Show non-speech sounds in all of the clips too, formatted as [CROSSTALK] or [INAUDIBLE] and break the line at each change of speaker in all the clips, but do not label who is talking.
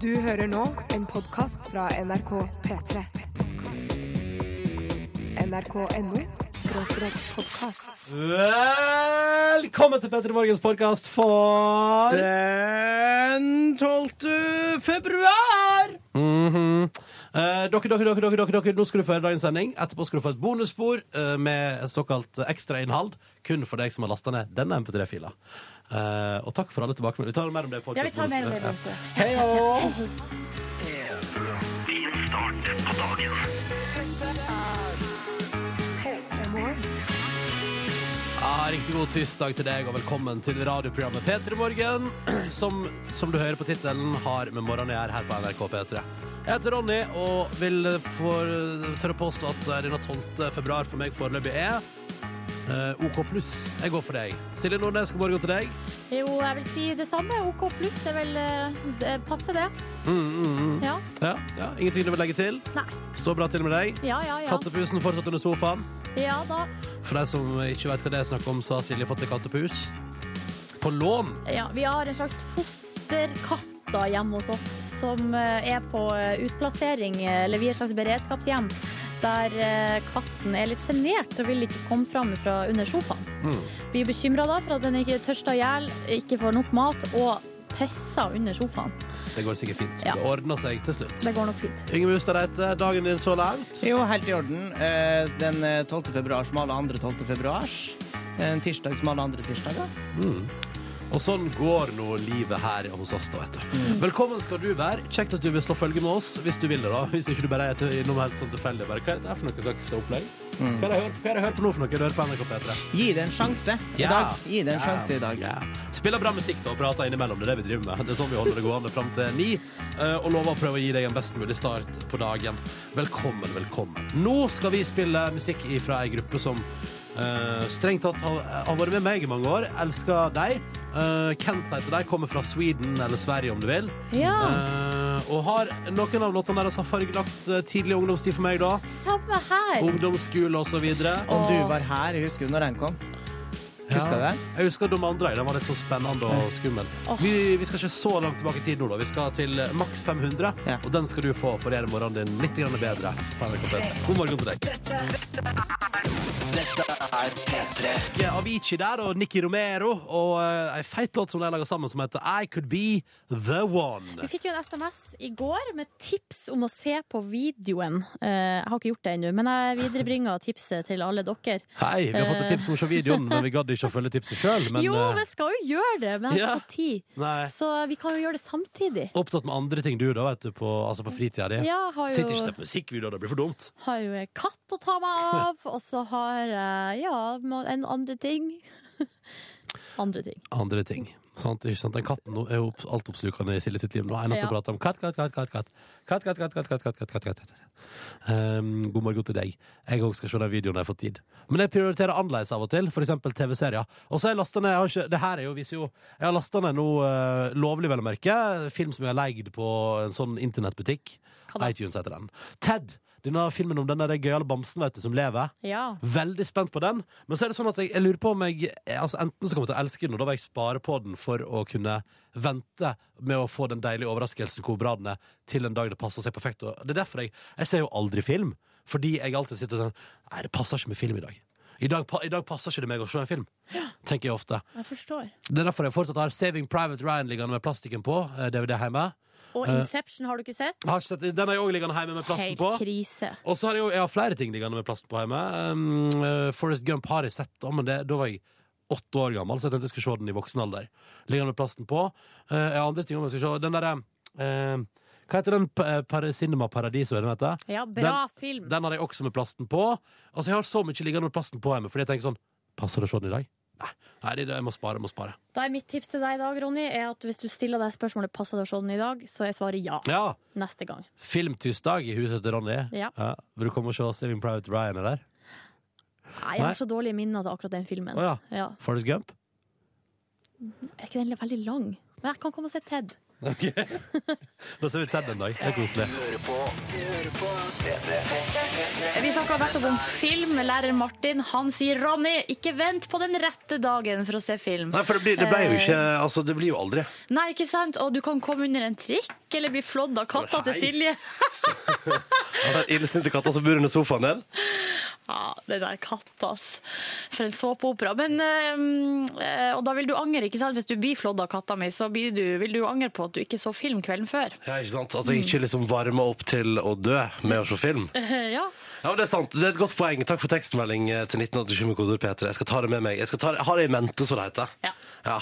Du hører nå en podkast fra NRK P3. NRK.no skråstrek podkast.
Velkommen til Petter Morgens podkast for
Den 12. februar!
Eh, dere, dere, dere, dere, dere, dere, nå skal du få høre dagens sending. Etterpå skal du få et bonusspor eh, med et såkalt ekstrainnhold. Kun for deg som har lasta ned denne MP3-fila. Eh, og takk for alle tilbakemeldinger. Vi tar mer om det i
Ja, vi tar mer om det.
podcast-bonuset.
Bente.
Ja, riktig god tirsdag til deg, og velkommen til radioprogrammet P3 Morgen, [CLEARS THROAT] som, som du hører på tittelen, har med morgenen å gjøre her på NRK P3. Jeg heter Ronny, og vil for, tørre å påstå at denne 12. februar for meg foreløpig er eh, OK pluss. Jeg går for deg. Silje Nordnes, god morgen til deg.
Jo, jeg vil si det samme. OK pluss er vel eh, det- Passer det? Ja.
Ja, ja, Ingenting du vil legge til?
Nei.
Står bra til med deg?
Ja, ja, ja.
Kattepusen fortsatt under sofaen.
Ja da.
For deg som ikke vet hva det er snakk om, så har Silje fått en kattepus. På lån.
Ja, vi har en slags fosterkatt da hjemme hos oss som eh, er på eh, utplassering, eh, eller vi er et slags beredskapshjem, der eh, katten er litt sjenert og vil ikke komme fram fra under sofaen. Vi er bekymra da for at den ikke tørster i hjel, ikke får nok mat og pisser under sofaen.
Det går sikkert fint.
Ja.
Det ordner seg til slutt.
Det går nok fint.
Yngve Hustad Reite, dagen din så langt.
Jo, helt i orden. Eh, Den eh, 12. februar som alle andre 12. februars. En tirsdag som alle andre tirsdager.
Og sånn går nå livet her hos oss, da, vet du. Velkommen skal du være. Kjekt at du vil slå følge med oss, hvis du vil det, da. Hvis ikke du bare er til- innom helt sånn tilfeldig. Bare, hva er det her for noe slags opplegg? Hva er det jeg hører- hva er det jeg hører på nå for noe? Du hører på NRK P3.
Gi det en sjanse i dag. Gi det en sjanse i dag.
Ja. Spiller bra musikk da, og prater innimellom. Det er det vi driver med. Det er sånn vi holder det gående fram til ni. eh, Og lover å prøve å gi deg en best mulig start på dagen. Velkommen, velkommen. Nå skal vi spille musikk fra ei gruppe som eh, strengt tatt har, har vært med meg i mange år. Elsker deg. Eh, Kent heter deg. Kommer fra Sweden eller Sverige, om du vil.
Ja,
Eh, og har noen av låtene deres har fargelagt eh, tidlig ungdomstid for meg, da.
samme
Oh,
her.
Ungdomsskole og så videre.
Om du var her, husker du når den kom? Husker du
Ja.
den?
Jeg husker de andre. Den var litt så spennende og skummel.
Åh.
Vi, vi skal ikke så langt tilbake i tid nå, da. Vi skal til eh, maks 500,
Ja.
og den skal du få for å gjøre morgenen din litt grann bedre. på NRK P3. God morgen til deg. Ikke Avicii der og Nikki Romero og eh, ei feit låt som de lager sammen, som heter I Could Be The One.
Vi fikk jo en SMS i går med tips om å se på videoen. Eh, Jeg har ikke gjort det ennå, men jeg viderebringer tipset til alle dere.
Hei, vi har fått et tips om å se videoen, men vi gadd ikke å følge tipset sjøl. Men
jo,
eh,
vi skal jo gjøre det, men jeg
Ja.
har ikke fått tid.
nei.
Så vi kan jo gjøre det samtidig.
Opptatt med andre ting du, da, vet du, på, altså på fritida di.
Ja, jeg har
Sitter ikke og
jo,
ser på musikkvideoer, det blir for dumt.
har jo en katt å ta meg av, og så har jeg ja, må- en andre ting. [LAUGHS] Andre ting.
andre ting. Sant? Ikke sant? Den katten nå er jo opp- altoppslukende i Silje sitt liv. Nå er eneste
Ja.
å prate om katt, katt, katt, katt, katt. Katt, katt, katt, katt, katt, katt, katt, katt, katt, katt. Ehm, god morgen til deg. Jeg òg skal se den videoen når jeg får tid. Men jeg prioriterer annerledes av og til, f.eks. TV-serier. Og så har jeg lasta ned jeg har ikke, Det her er jo, viser jo Jeg har lasta ned noe eh, lovlig, vel å merke. Film som jeg har leid på en sånn internettbutikk.
Hva da?
iTunes heter den. Ted. Denne filmen om den der gøyale bamsen vet du, som lever.
Ja.
Veldig spent på den. Men så er det sånn at jeg, jeg lurer på om jeg altså enten så kommer jeg til å elske den, og da vil jeg spare på den for å kunne vente med å få den deilige overraskelsen hvor bra den er, til en dag det passer seg perfekt. Og det er derfor jeg, jeg ser jo aldri film. Fordi jeg alltid sitter sånn Nei, det passer ikke med film i dag. I dag, pa- I dag passer ikke det meg å se en film, tenker jeg ofte.
Jeg forstår.
Det er derfor jeg fortsatt har Saving Private Ryan liggende med plastikken på. eh, DVD hjemme.
Og Inception har du ikke sett?
Jeg har ikke sett, den har jeg òg liggende hjemme med plasten
Helt
Eh, på.
krise.
Og så har jeg jo jeg har flere ting liggende med plasten på hjemme. Um, eh, Forrest Gump har jeg sett, da, men det, da var jeg åtte år gammel, så jeg tenkte jeg skulle se den i voksen alder. Liggende med plasten på. Eh, jeg har andre ting om jeg skal se. Den derre eh, Hva heter den pa- eh, par Cinema Paradiso? er Den, heter?
Ja, bra film.
den har jeg også med plasten på. Altså, jeg har så mye liggende med plasten på hjemme, fordi jeg tenker sånn Passer det å se den i dag? Nei, Nei det, det- jeg må spare, jeg må spare.
Da er mitt tips til deg i dag, Ronny, er at hvis du stiller deg spørsmålet passer det å se den i dag, så er svaret ja
Ja!
neste gang.
Filmtirsdag i huset til Ronny.
Ja.
Vil du komme og se Saving Private Ryan, eller?
Nei, jeg har så dårlige minner til akkurat den filmen.
Å ja.
Ja.
Forrest Gump?
Er ikke den veldig lang? Men jeg kan komme og se Ted.
Ok. [LAUGHS] Da ser vi Ted en dag. Det er koselig.
Vi snakka nettopp om film. Lærer Martin han sier 'Ronny, ikke vent på den rette dagen for å se film'.
Nei, for det blir, det ble jo ikke Altså, det blir jo aldri.
Nei, ikke sant? Og du kan komme under en trikk eller bli flådd av katta til
Hei.
Silje.
Den illsinte katta som bor under sofaen din.
Ja, den der katta, ass. For en såpeopera. Men eh, eh, Og da vil du angre, ikke sant? Hvis du blir flådd av katta mi, så blir du, vil du jo angre på at du ikke så film kvelden før.
Ja, ikke sant? At jeg ikke liksom varmer opp til å dø med å se film.
Eh, ja.
Ja, men Det er sant. Det er et godt poeng. Takk for tekstmelding eh, til 1987 med kodeord P3. Jeg skal ta det med meg. Jeg skal ta det, ha det i mente, så det heter.
Ja.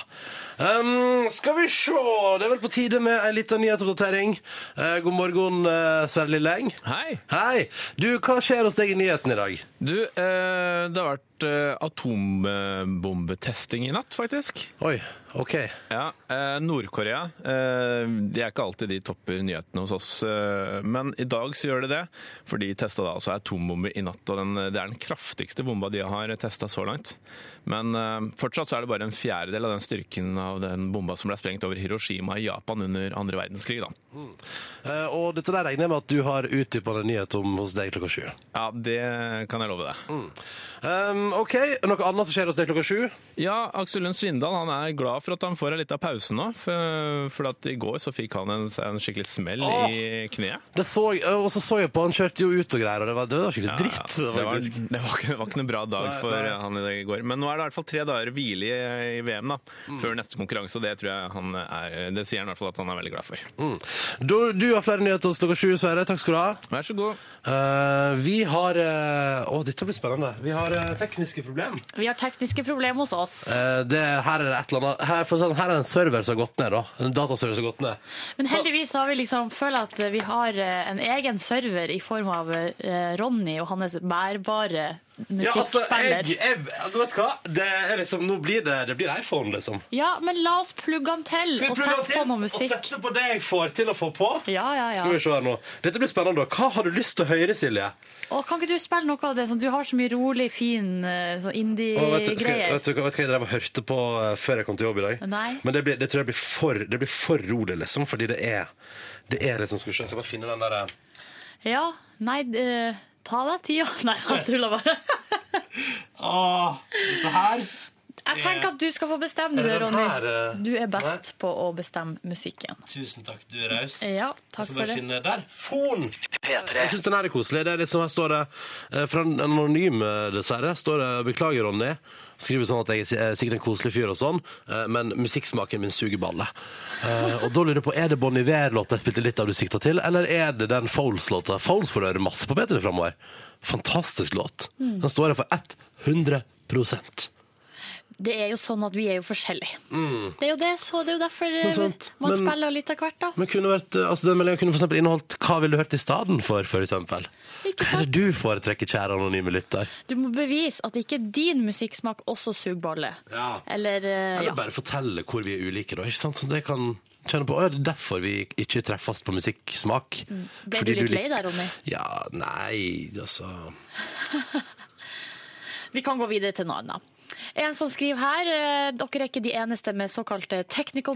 Um, skal vi se. Det er vel på tide med en liten nyhetsoppdatering. Eh, god morgen, eh, Sverre Lilleng.
Hei.
Hei. Du, hva skjer hos deg i nyheten i dag?
Du, eh, det har vært eh, atombombetesting i natt, faktisk.
Oi, OK.
Ja, eh, Nord-Korea. Eh, det er ikke alltid de topper nyhetene hos oss, eh, men i dag så gjør de det. For de testa da altså atombomber i natt, og den, det er den kraftigste bomba de har testa så langt. Men eh, fortsatt så er det bare en fjerdedel av den styrken av den bomba som ble sprengt over Hiroshima i Japan under andre verdenskrig, da.
Eh, og dette der regner jeg med at du har utdypende nyhet om hos deg klokka sju.
Ja, det kan jeg love deg.
Um, OK. Noe annet som skjer hos deg klokka sju?
Ja, Aksel Lund Svindal han er glad for at han får en liten pause nå. For, for at i går så fikk han en, en skikkelig smell
Åh!
i kneet.
Det så, og så så jeg på han kjørte jo ut og greier, og det var, det var skikkelig
Ja,
dritt.
det, var,
faktisk.
[LAUGHS] det, var ikke, det var ikke noen bra dag
Nei,
for
nei.
han i går. Men nå er det i hvert fall tre dager hvile i, i VM, da.
Mm.
Før neste konkurranse, og det tror jeg han er, det sier han i hvert fall at han er veldig glad for.
Mm. Du, du har flere nyheter hos klokka sju, Sverre. Takk skal du ha.
Vær så god.
Eh, vi har eh, Å, dette blir spennende. Vi har eh, tekniske problem.
Vi har tekniske problemer hos oss.
Eh, det, her er det et eller annet Her, for å si det sånn, her er det en server som har gått ned, da. En dataserver som har gått ned.
Men heldigvis har vi liksom føler jeg at vi har eh, en egen server i form av eh, Ronny og hans bærbare musikkspiller. Ja,
altså, jeg, jeg- Du vet hva? Det er liksom Nå blir det, det blir iPhone, liksom.
men la oss plugge han til
Skal vi
og
prøve
sette
til
på noe
Og
musikk.
sette på det jeg får til å få på?
Ja, ja,
Skal vi
ja.
se her nå. Dette blir spennende. da. Hva har du lyst til å høre, Silje?
Og kan ikke du spille noe av det? Sånn, du har så mye rolig, fin eh, sånn
Og vet, du- skal,
indie-greier.
vet, du, hva- vet du hva jeg drev og hørte på eh, før jeg kom til jobb i dag?
Nei.
Men det, blir, det tror jeg blir for, det blir for rolig, liksom. Fordi det er, det er liksom Skal vi se, jeg skal bare finne den der eh,
Ja, nei, eh, ta deg tida. [LAUGHS] Nei, jeg tuller bare.
Åh, dette her
Jeg tenker at du skal få bestemme, du,
Er det den
Ronny.
her, eh,
Du er best på å bestemme musikken.
Tusen takk, du er raus.
Ja, takk for det.
finne der. Fon! Jeg syns den her er koselig. Det er litt sånn, her står det eh, fra en anonym, eh, dessverre, står det 'Beklager, Ronny'. Skriver sånn at jeg er si- er sikkert en koselig fyr og sånn, eh, men musikksmaken min suger balle. Eh, Og da lurer jeg på, er det Bon Iver-låta jeg spilte litt av du sikta til, eller er det den Foles-låta? Foles får du høre masse på P3 framover. Fantastisk låt.
Mm.
Den står her for 100
Det er jo sånn at vi er jo forskjellige. Det er jo det, så det er jo derfor eh,
er sant.
man
Mm. Men-
spiller litt av hvert, da.
Men kunne vært, eh, altså den meldingen kunne for eksempel inneholdt Hva ville du hørt i staden for, for eksempel?
Ikke
Hva er det du foretrekker, kjære anonyme lytter?
Du må bevise at ikke din musikksmak også suger balle.
Ja.
Eller, eh,
Eller
ja.
bare fortelle hvor vi er ulike, da. Ikke sant? Så det kan kjenne på. Å, ja, det er derfor vi ikke treffes på musikksmak.
Mm. Ble du litt lei deg, Ronny?
Ja, nei, altså
Vi kan gå videre til noe annet. En som skriver her eh, Dere er ikke de eneste med såkalte technical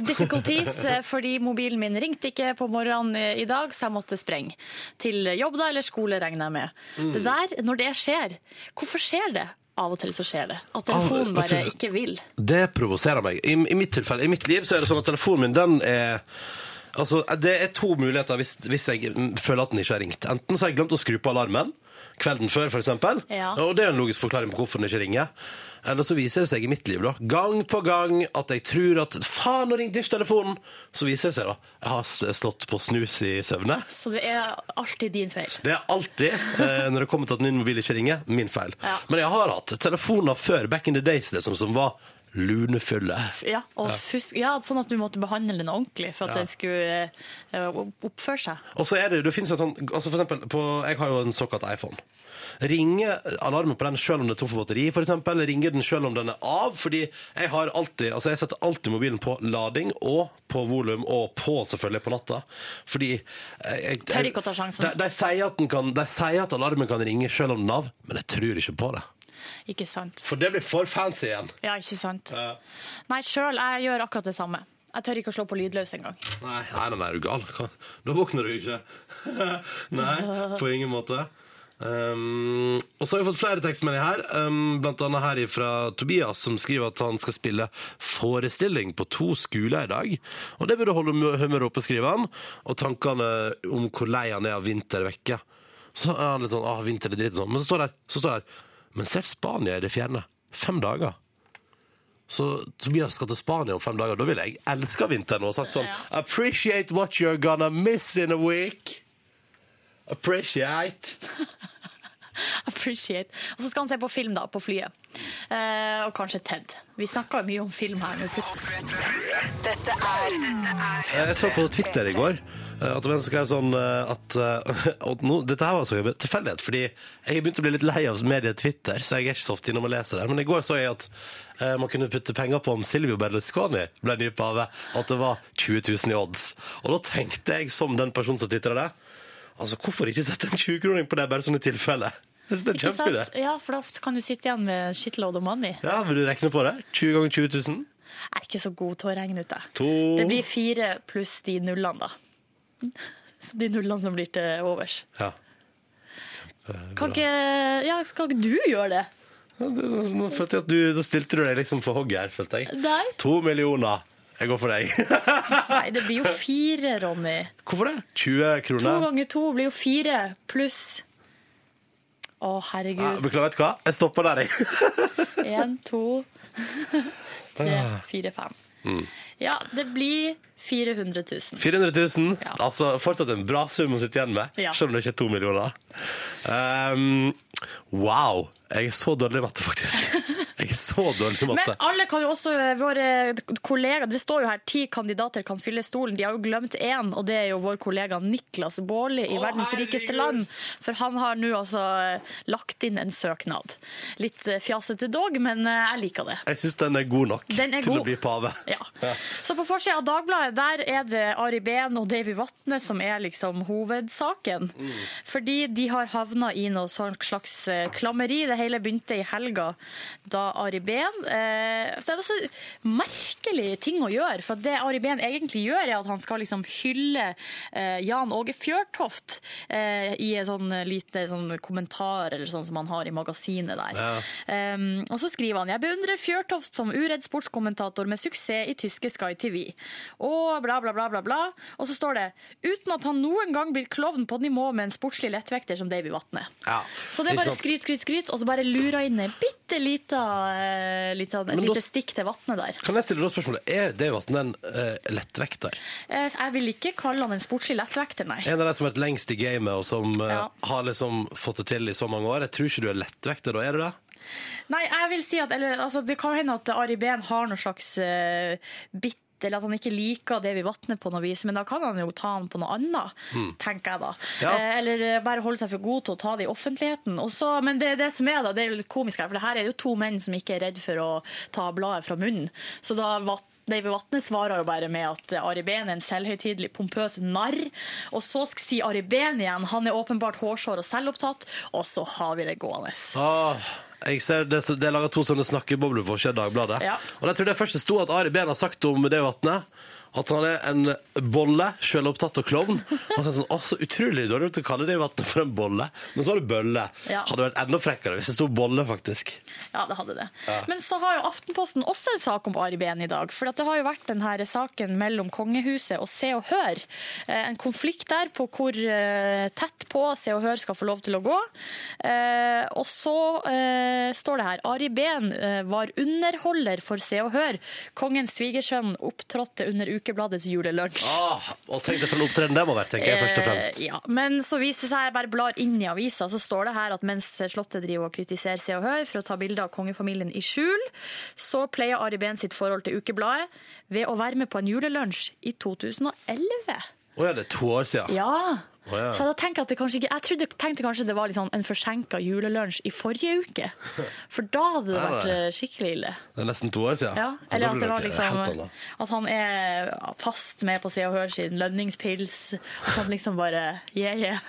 [LAUGHS]
difficulties, eh, fordi mobilen min ringte ikke på morgenen eh, i dag, så jeg måtte sprenge. Til jobb da, eller skole, regner jeg med.
Mm.
Det der, når det skjer, hvorfor skjer det? Av og til så skjer det. At telefonen
vet du-
bare ikke vil.
Det provoserer meg. I, I mitt tilfelle, i mitt liv, så er det sånn at telefonen min, den er Altså, det er to muligheter hvis, hvis jeg mm, føler at den ikke har ringt. Enten så har jeg glemt å skru på alarmen kvelden før, for eksempel.
Ja.
Og det er en logisk forklaring på hvorfor den ikke ringer. Eller så viser det seg i mitt liv, da, gang på gang, at jeg tror at Faen, nå ringte ikke telefonen! Så viser det seg, da. Jeg har s- slått på snus i søvne.
Så det er alltid din feil.
Det er alltid, eh, når det kommer til at min mobil ikke ringer, min feil.
Ja.
Men jeg har hatt telefoner før, back in the days, det som, som var lunefulle.
Ja, og fusk, ja, sånn at du måtte behandle den ordentlig for at den skulle eh, opp- oppføre seg.
Og så er det, det finnes jo et sånt, altså for eksempel, på, jeg har jo en såkalt iPhone. Ringer alarmen på den selv om det er tom for batteri, for eksempel? Ringer den selv om den er av? Fordi jeg har alltid, altså jeg setter alltid mobilen på lading, og på volum, og på selvfølgelig på natta. Fordi jeg, jeg,
Tør ikke å ta sjansen.
De, de, sier at den kan, de sier at alarmen kan ringe selv om den er av, men jeg tror ikke på det.
Ikke sant.
For det blir for fancy igjen.
Ja, ikke sant.
Eh,
Nei, sjøl, jeg gjør akkurat det samme. Jeg tør ikke å slå på lydløs engang. [LAUGHS]
nei, nei, nei, nei, er du gal? Hva? Da våkner du ikke. [LAUGHS] nei, på ingen måte. Um, og så har vi fått flere tekstmeldinger her, um, blant annet her fra Tobias, som skriver at han skal spille forestilling på to skoler i dag. Og det burde holde humø- humøret oppe, skriver han, og tankene om hvor lei han er av vinter vekke. Så er han litt sånn, ah, vinter er dritt sånn. Men så står det her, så står det her, men selv Spania i det fjerne. Fem dager. Så Tobias skal til Spania om fem dager. Da ville jeg elska vinteren og sagt sånn Appreciate what you're gonna miss in a week. Appreciate.
Appreciate. Og så skal han se på film, da, på flyet. Eh, og kanskje Ted. Vi snakker jo mye om film her nå.
Dette er
Jeg så på Twitter i går eh, at det var en som skrev sånn eh, at, eh, at nå, Dette her var så jobbet tilfeldighet, fordi jeg begynte å bli litt lei av mediet Twitter, så jeg er ikke så ofte innom og leser der. Men i går så jeg at eh, man kunne putte penger på om Silvio Berlusconi ble ny pave, og at det var 20 000 i odds. Og da tenkte jeg, som den personen som tvitra det, altså hvorfor ikke sette en 20-kroning på det, bare sånn i tilfelle? Jeg synes det er
Ikke
kjempeidé.
sant? Ja, for da kan du sitte igjen med shitload of money.
Ja, vil du regne på det? 20 ganger 20 000?
Jeg er ikke så god til å regne ut, jeg.
To
Det blir fire pluss de nullene, da. [LAUGHS] Så de nullene som blir til overs.
Ja.
Kan ikke Ja, skal ikke du gjøre det?
Ja, det- altså, Nå følte jeg at du, da stilte du deg liksom for hogget her, følte jeg.
Nei.
To millioner. Jeg går for
[LAUGHS]
deg.
Nei, det blir jo fire, Ronny.
Hvorfor det? 20
To
kroner.
ganger to blir jo fire pluss Å,
Ja,
herregud.
Beklager, vet du hva? Jeg stopper der,
[LAUGHS]
jeg.
Én, to, [LAUGHS] tre, fire, fem. Ja, det blir 400 000.
400 000.
Ja.
Altså fortsatt en bra sum å sitte igjen med,
Ja.
selv om det ikke er to millioner. Ehm, wow. Jeg er så dårlig i matte,
[LAUGHS]
faktisk. Jeg er så dårlig i
Men
matte.
alle kan jo også eh, våre kollegaer Det står jo her ti kandidater kan fylle stolen. De har jo glemt én, og det er jo vår kollega Niklas Baarli i verdens rikeste land. For han har nå altså eh, lagt inn en søknad. Litt eh, fjasete dog, men eh, jeg liker det.
Jeg syns den er god nok
Den er
til
god.
å bli pave.
Ja. Så på forsida av Dagbladet der er det Ari Behn og Davy Vatne som er liksom hovedsaken. Fordi de har havna i noe sånn slags eh, klammeri. Det hele begynte i helga da Ari Behn eh, så Det var så merkelig ting å gjøre. For det Ari Behn egentlig gjør, er at han skal liksom hylle eh, Jan Åge Fjørtoft eh, i en sånn eh, lite sånn kommentar eller sånn som han har i magasinet der. Um, og så skriver han Jeg beundrer Fjørtoft som uredd sportskommentator med suksess i tyske Sky TV. Og bla, bla, bla, bla, bla. Og så står det Uten at han noen gang blir klovn på nivå med en sportslig lettvekter som Davy Vatne.
Ja,
Så det er
ikke
bare
sant?
skryt, skryt, skryt, og så bare lurer inn en bitte lita, eh, lita, et
Men da-
lite stikk til Vatne der.
Kan jeg stille deg spørsmålet? Er det Vatn en eh, lettvekter?
Eh, Jeg vil ikke kalle han en sportslig lettvekter, nei.
En av de som har vært lengst i gamet, og som eh,
Ja.
har liksom fått det til i så mange år. Jeg tror ikke du er lettvekter, da er du det?
Nei, jeg vil si at eller, altså, Det kan hende at Ari Behn har noe slags eh, bitt eller at han ikke liker det vi vatner på noe vis, men da kan han jo ta han på noe annet, tenker jeg da.
Ja.
Eh, eller eh, bare holde seg for god til å ta det i offentligheten. Og så- men det, det som er da, det er jo litt komisk her, for det her er jo to menn som ikke er redd for å ta bladet fra munnen. Så da Vat- Davy Vatne svarer jo bare med at Ari Behn er en selvhøytidelig, pompøs narr. Og så sk- sier Ari Behn igjen han er åpenbart hårsår og selvopptatt, og så har vi det gående.
Åh, Ah, jeg ser det, det er laga to sånne snakkebobler på Skjedd Dagbladet.
Ja.
Og jeg tror det først det sto at Ari Behn har sagt om det vatnet. At han er en bolle, sjølopptatt og klovn. Og så er det sånn, «Åh, så utrolig dårlig gjort å kalle det vannet for en bolle. Men så var det bølle.
Ja.
Hadde vært enda frekkere hvis det sto bolle, faktisk.
Ja, det hadde det. Men så har jo Aftenposten også en sak om Ari Behn i dag. For at det har jo vært den her saken mellom kongehuset og Se og Hør. Eh, En konflikt der på hvor eh, tett på Se og Hør skal få lov til å gå. Eh, Og så eh, står det her Ari Behn eh, var underholder for Se og Hør. Kongens svigersønn opptrådte under ukebladets julelunsj.
Åh, Ah, og tenk deg for en opptreden det må være, tenker jeg først og fremst.
Eh, Ja, men så viser det seg, jeg bare blar inn i avisa, så står det her at mens Slottet driver og kritiserer Se og Hør for å ta bilder av kongefamilien i skjul, så pleier Ari Behn sitt forhold til ukebladet ved å være med på en julelunsj i 2011.
Å ja, det er to år siden.
Ja!
Å ja.
Så jeg, da tenker at det kanskje ikke, jeg trodde, tenkte kanskje det var litt sånn en forsenka julelunsj i forrige uke. For da hadde det
Ja,
vært
det.
eh, skikkelig ille.
Det er nesten to år siden.
Ja,
da blir
eller at det var
nok helt
liksom
annet.
At han er fast med på Se og Hør sin lønningspils. At han liksom bare yeah, yeah.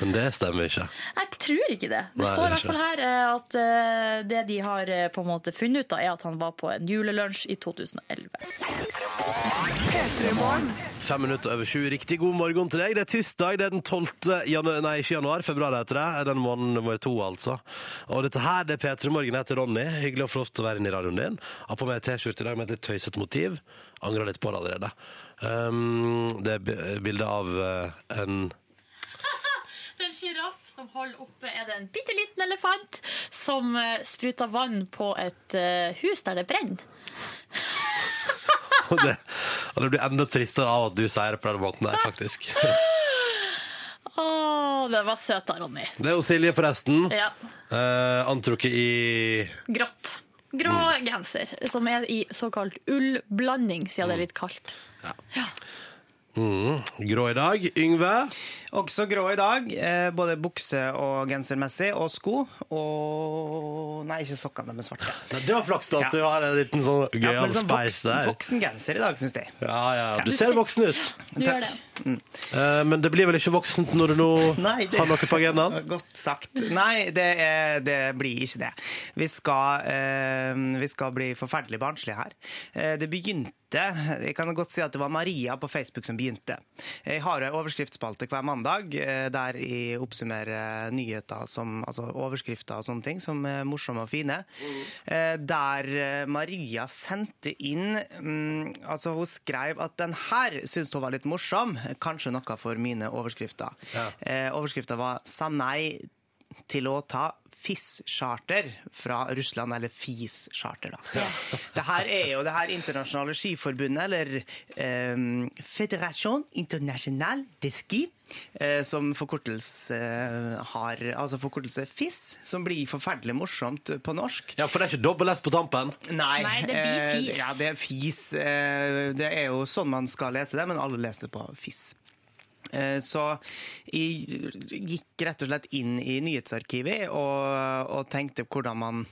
Men det stemmer ikke.
Jeg tror ikke det. Det
Nei,
står i
det
hvert fall her eh, at eh, det de har eh, på en måte funnet ut, da, er at han var på en julelunsj i 2011.
Fem minutter over sju. Riktig god morgen til deg. Det er tirsdag. Det er den 12. januar, nei, ikke januar, februar heter det. Den måneden nummer to, altså. Og dette her det er P3 Morgen. Jeg heter Ronny. Hyggelig å få lov til å være inne i radioen din. Har på meg en T-skjorte i dag med et litt tøysete motiv. Angrer litt på det allerede. Um, det er bi- bilde av eh, en [LAUGHS]
Det er en sjiraff som holder oppe er det en bitte liten elefant som eh, spruter vann på et eh, hus der det brenner.
og det, og det blir enda tristere av at du sier det på den måten der, faktisk. [LAUGHS]
Å, det var søt da, Ronny.
Det er jo Silje, forresten.
Ja.
Eh, antrukket i
Grått. Grå genser, som er i såkalt ullblanding, siden det er litt kaldt.
mm, grå i dag. Yngve.
Også grå i dag, eh, både bukse- og gensermessig, og sko. Og Nei, ikke sokkene, de er svarte.
Nei, det var flaks da, at
Ja.
du har en liten sånn
Ja,
gøyal
men sånn
speis
voksen,
der.
voksen genser i dag, syns jeg.
Ja, ja. Du
Du
ser
ser-
voksen ut.
Du gjør det.
Eh, men det blir vel ikke voksent når du nå
Nei, det-
har noe på agendaen?
[LAUGHS] Godt sagt. Nei, det, er, det blir ikke det. Vi skal, eh, vi skal bli forferdelig barnslige her. Eh, det begynte jeg kan godt si at det var Maria på Facebook som begynte. Jeg har en overskriftsspalte hver mandag eh, der jeg oppsummerer nyheter, som, altså overskrifter og sånne ting, som er morsomme og fine. Eh, Der eh, Maria sendte inn mm, Altså, hun skrev at den her syns hun var litt morsom. Kanskje noe for mine overskrifter. Eh, Overskrifta var 'Sa nei til å ta FIS-charter fra Russland, eller FIS-charter, da. Det her er jo det her internasjonale skiforbundet, eller eh, Federation Internationale de Ski, eh, som forkortelse eh, har Altså forkortelse FIS, som blir forferdelig morsomt på norsk.
Ja, for det er ikke dobbel S på tampen.
Nei,
Nei, det blir
eh,
fis.
ja, det er fis. Eh, det er jo sånn man skal lese det, men alle leser det på fis. Eh, Så jeg gikk rett og slett inn i nyhetsarkivet og, og tenkte hvordan man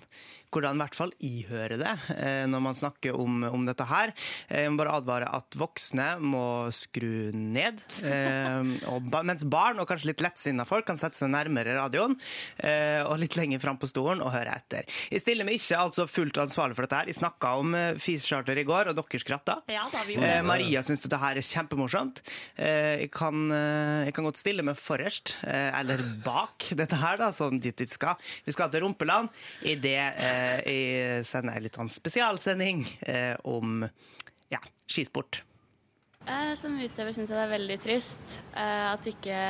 hvordan i hvert fall jeg hører det eh, når man snakker om, om dette her. Eh, Jeg må bare advare at voksne må skru ned. eh, Og, ba- mens barn og kanskje litt lettsinna folk kan sette seg nærmere radioen eh, og litt lenger fram på stolen og høre etter. Jeg stiller meg ikke altså fullt ansvarlig for dette her. Jeg snakka om eh, FIS-charter i går, og dere skratta.
Ja, da, vi gjorde
Eh,
det.
Maria syns dette her er kjempemorsomt. Eh, jeg, kan, eh, jeg kan godt stille meg forrest, eh, eller bak dette her, da, sånn dit vi skal. Vi skal til Rumpeland. I det eh, jeg sender en litt sånn spesialsending eh, om ja, skisport.
Eh, Som utøver syns jeg det er veldig trist eh, at ikke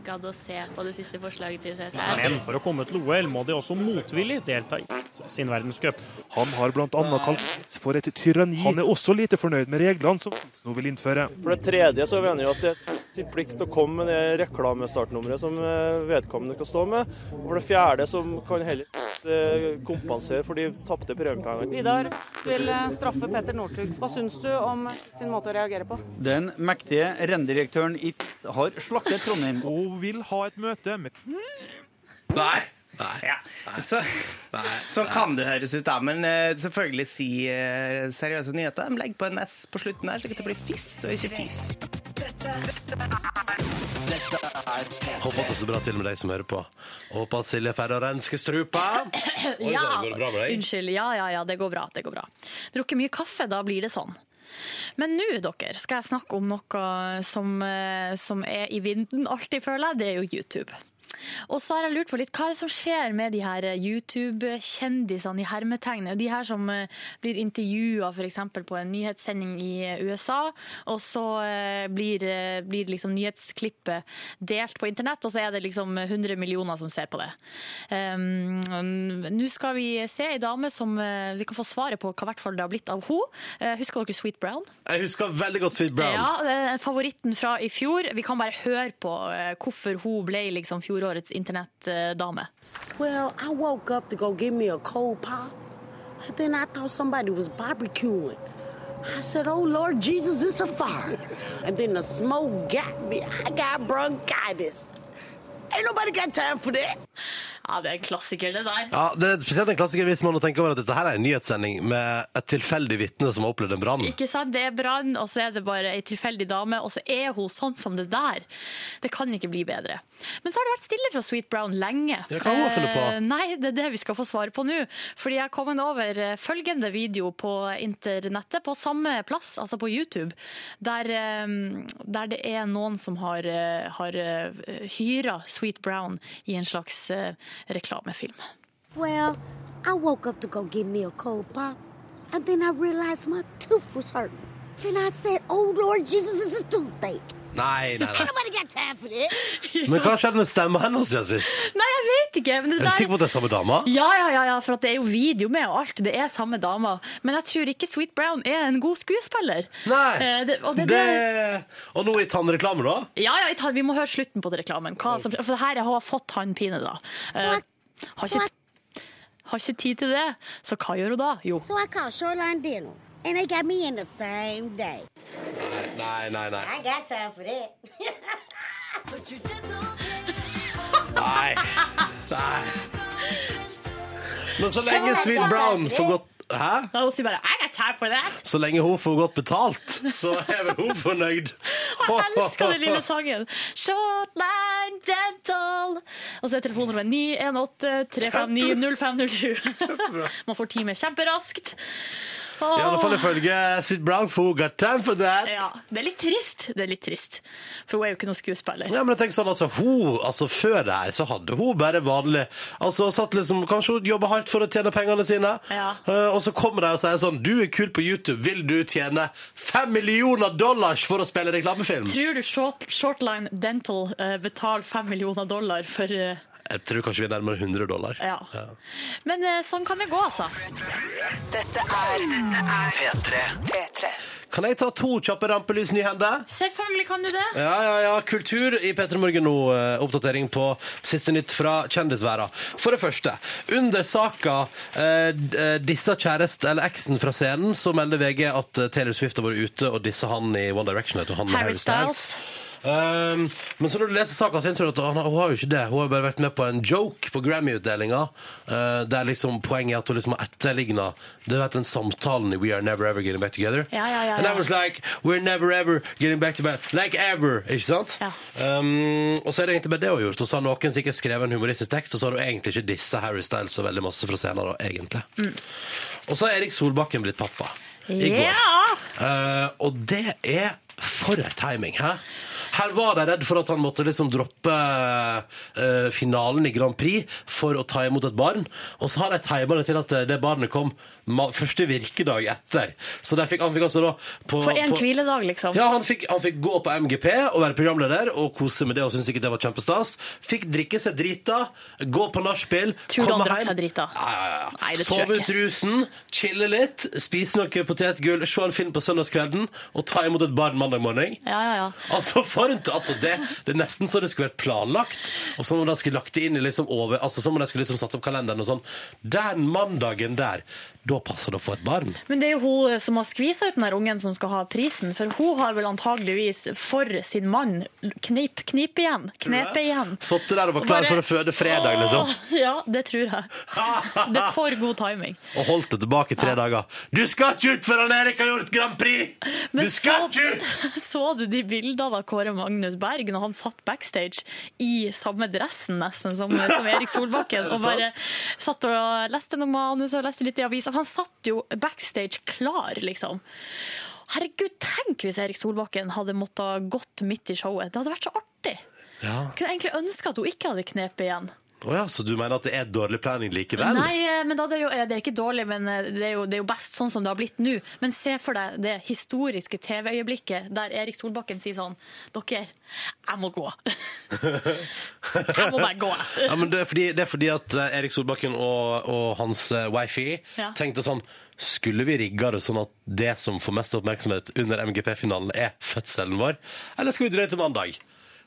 gadd å se på det siste forslaget til CTR.
Men for å komme til OL må de også motvillig delta i sin verdenscup. Han har bl.a. kalt for et tyranni. Han er også lite fornøyd med reglene som nå vil innføre. For det tredje så mener jeg at det er sin plikt å komme med det reklamestartnummeret som eh, vedkommende skal stå med. Og for det fjerde så kan heller eh, kompensere for de tapte premiepengene.
Vidar vil eh, straffe Petter Northug. Hva syns du om sin måte å reagere på?
Den mektige renndirektøren i har slaktet Trondheim.
Og vil ha et møte med
Nei! Nei.
Ja. Så, så kan det høres ut, da. Men eh, selvfølgelig si eh, seriøse nyheter. Men Legg på en S på slutten her, slik at det blir fiss og ikke fis.
Håper at det står bra til med deg som hører på. Håper at Silje er ferdig å renske strupa. Oi,
Ja,
da, går det bra med deg?
Unnskyld. Ja, ja, ja, det går bra. det går bra. Drukket mye kaffe, da blir det sånn. Men nå dere, skal jeg snakke om noe som, eh, som er i vinden alltid, føler jeg. Det er jo YouTube. Og så har jeg lurt på litt, Hva er det som skjer med de her eh, YouTube-kjendisene i hermetegnet? De her som eh, blir intervjua f.eks. på en nyhetssending i eh, USA, og så eh, blir, eh, blir liksom nyhetsklippet delt på internett, og så er det liksom 100 millioner som ser på det. Um, um, Nå skal vi se ei dame som eh, vi kan få svaret på hva hvert fall det har blitt av henne. Eh, Husker dere Sweet Brown?
Jeg husker veldig godt Sweet Brown.
Ja, det er favoritten fra i fjor. Vi kan bare høre på eh, hvorfor hun ble liksom fjorårets internettdame.
Well, I woke up to go get me a cold pop. And then I thought somebody was barbecuing. I said, oh Lord Jesus, it's a fire. And then the smoke got me. I got bronchitis. Ain't nobody got time for that.
Ja, det er en klassiker, det der.
Ja, Det er spesielt en klassiker hvis man tenker over at dette her er en nyhetssending med et tilfeldig vitne som har opplevd en brann.
Ikke sant? Det er brann, og så er det bare ei tilfeldig dame, og så er hun sånn som det der. Det kan ikke bli bedre. Men så har det vært stille fra Sweet Brown lenge.
Ja, hva har hun funnet på?
Eh, Nei, det er det vi skal få svare på nå. Fordi jeg har kommet over eh, følgende video på internettet, på samme plass, altså på YouTube, der, eh, der det er noen som har, eh, har eh, hyra Sweet Brown i en slags eh, reklamefilm.
Well, I woke up to go get me a cold pop, and then I realized my tooth was hurting. Then I said, Oh Lord Jesus, it's a toothache.
Nei,
[LAUGHS]
nei,
Ain't
nei.
nobody got time for that.
Men hva skjedde med stemma hennes siden sist?
Nei, jeg vet ikke. Men det
Er du
der...
sikker på at det er samme dama?
Ja, ja, ja, ja, for at det er jo video med og alt. Det er samme dama. Men jeg tror ikke Sweet Brown er en god skuespiller.
Nei.
Eh, det, og, det,
det... og nå i tannreklame, da?
Ja, ja, ta- vi må høre slutten på den reklamen. Hva som, for det her jeg har fått tannpine, da. Eh, har, ikke, har ikke tid til det. Så hva gjør hun da? Jo.
So I called Shoreline Dental, and they got me in the same day.
Nei, nei, nei. nei.
I got time for that.
Nei. Nei. Men så lenge Sweet Brown får godt Hæ?
Da hun sier bare 'I got time for that'.
Så lenge hun får godt betalt, så er vel hun fornøyd. [LAUGHS]
Jeg elsker den lille sangen. Shortline Dental. Og så er telefonnummeret 918-359-0507. Man får time kjemperaskt.
I alle fall ifølge Sweet Brown, for hun got time for that.
Ja, det er litt trist. Det er litt trist. For hun er jo ikke noen skuespiller.
Ja, men jeg tenker sånn, altså, hun, altså Før det her så hadde hun bare vanlig Altså, satt liksom, Kanskje hun jobber hardt for å tjene pengene sine,
Ja.
Eh, og så kommer de og sier sånn Du er kul på YouTube, vil du tjene fem millioner dollars for å spille reklamefilm?
Tror du short, Shortline Dental eh, betaler fem millioner dollar for eh,
Jeg tror kanskje vi er nærmere 100 dollar.
Ja. Men eh, sånn kan det gå, altså.
Dette er P3. P3.
Kan jeg ta to kjappe rampelys i hende?
Selvfølgelig kan du det.
Ja, ja, ja. Kultur i P3 Morgen nå. eh, Oppdatering på siste nytt fra kjendisverda. For det første, under saka eh, d- eh, dissa kjærest eller eksen fra scenen, så melder VG at eh, Taylor Swift har vært ute og dissa han i One Direction. Heter han
Harry
Harry Styles.
Styles.
Um, men så når du leser saka, så innser du at han, hun har jo ikke det. Hun har bare vært med på en joke på Grammy-utdelinga. eh, der liksom poenget er at hun liksom har etterligna Det er den samtalen i We Are Never Ever Getting Back Together.
Ja, ja, ja,
And I
ja.
was like, we're never ever getting back to back, like ever, ikke sant? Um, og så er det egentlig bare det hun har gjort. Og så har noen sikkert skrevet en humoristisk tekst, og så har hun egentlig ikke dissa Harry Styles så veldig masse fra scenen da, egentlig. Og så er Erik Solbakken blitt pappa. I går.
Ja!
Eh, og det er for en timing, hæ? Her var de redd for at han måtte liksom droppe eh, finalen i Grand Prix for å ta imot et barn. Og så har de tima det til at eh, det barnet kom ma- første virkedag etter. Så de fikk, han fikk altså da på,
For en
på,
hviledag, liksom.
ja, han fikk, han fikk gå på MGP og være programleder og kose med det og syntes ikke det var kjempestas. Fikk drikke seg drita, gå på nachspiel,
Tror du
komme
han drakk
hjem.
seg drita?
Ja, ja, ja.
Nei, det tror
Sove
jeg
ut rusen, chille litt, spise noe potetgull, se en film på søndagskvelden og ta imot et barn mandag morgen.
Ja, ja, ja.
Altså, for en, altså det, det er nesten så det skulle vært planlagt. Og som om de skulle lagt det inn i liksom over Altså som om de skulle liksom satt opp kalenderen og sånn. Den mandagen der, da passer det å få et barn.
Men det er jo hun eh, som har skvisa ut den der ungen som skal ha prisen, for hun har vel antageligvis for sin mann knip, knip igjen. Knepe igjen.
Satt der og var klar
Bare-
for å føde fredag, liksom.
Åh, Ja, det
[LAUGHS]
tror jeg. Det er for god timing.
Og holdt det tilbake i tre dager. Du skal ikke ut før han Erik har gjort Grand Prix! Du skal ikke ut!
[LAUGHS] Så du de bildene av Kåre Magnus Berg når han satt backstage i samme dressen nesten som, som Erik
[LAUGHS]
Solbakken,
Er det
og bare satt og leste noe manus og leste litt i avisa. Han satt jo backstage klar, liksom. Herregud, tenk hvis Erik Solbakken hadde måttet gått midt i showet. Det hadde vært så artig.
Ja.
Kunne egentlig ønske at hun ikke hadde knepet igjen.
Å ja, så du mener at det er dårlig planning likevel?
Nei, eh, men da, det, er jo, eh, det er ikke dårlig, men eh, det er, jo, det er jo best sånn som det har blitt nå. Men se for deg det historiske TV-øyeblikket der Erik Solbakken sier sånn Dere, jeg må gå. [LAUGHS] Jeg må bare gå.
ja, men det, er fordi, det er fordi at eh, Erik Solbakken og, og hans eh, wifi
Ja.
tenkte sånn Skulle vi rigge det sånn at det som får mest oppmerksomhet under MGP-finalen, er fødselen vår, eller skal vi drøye til mandag?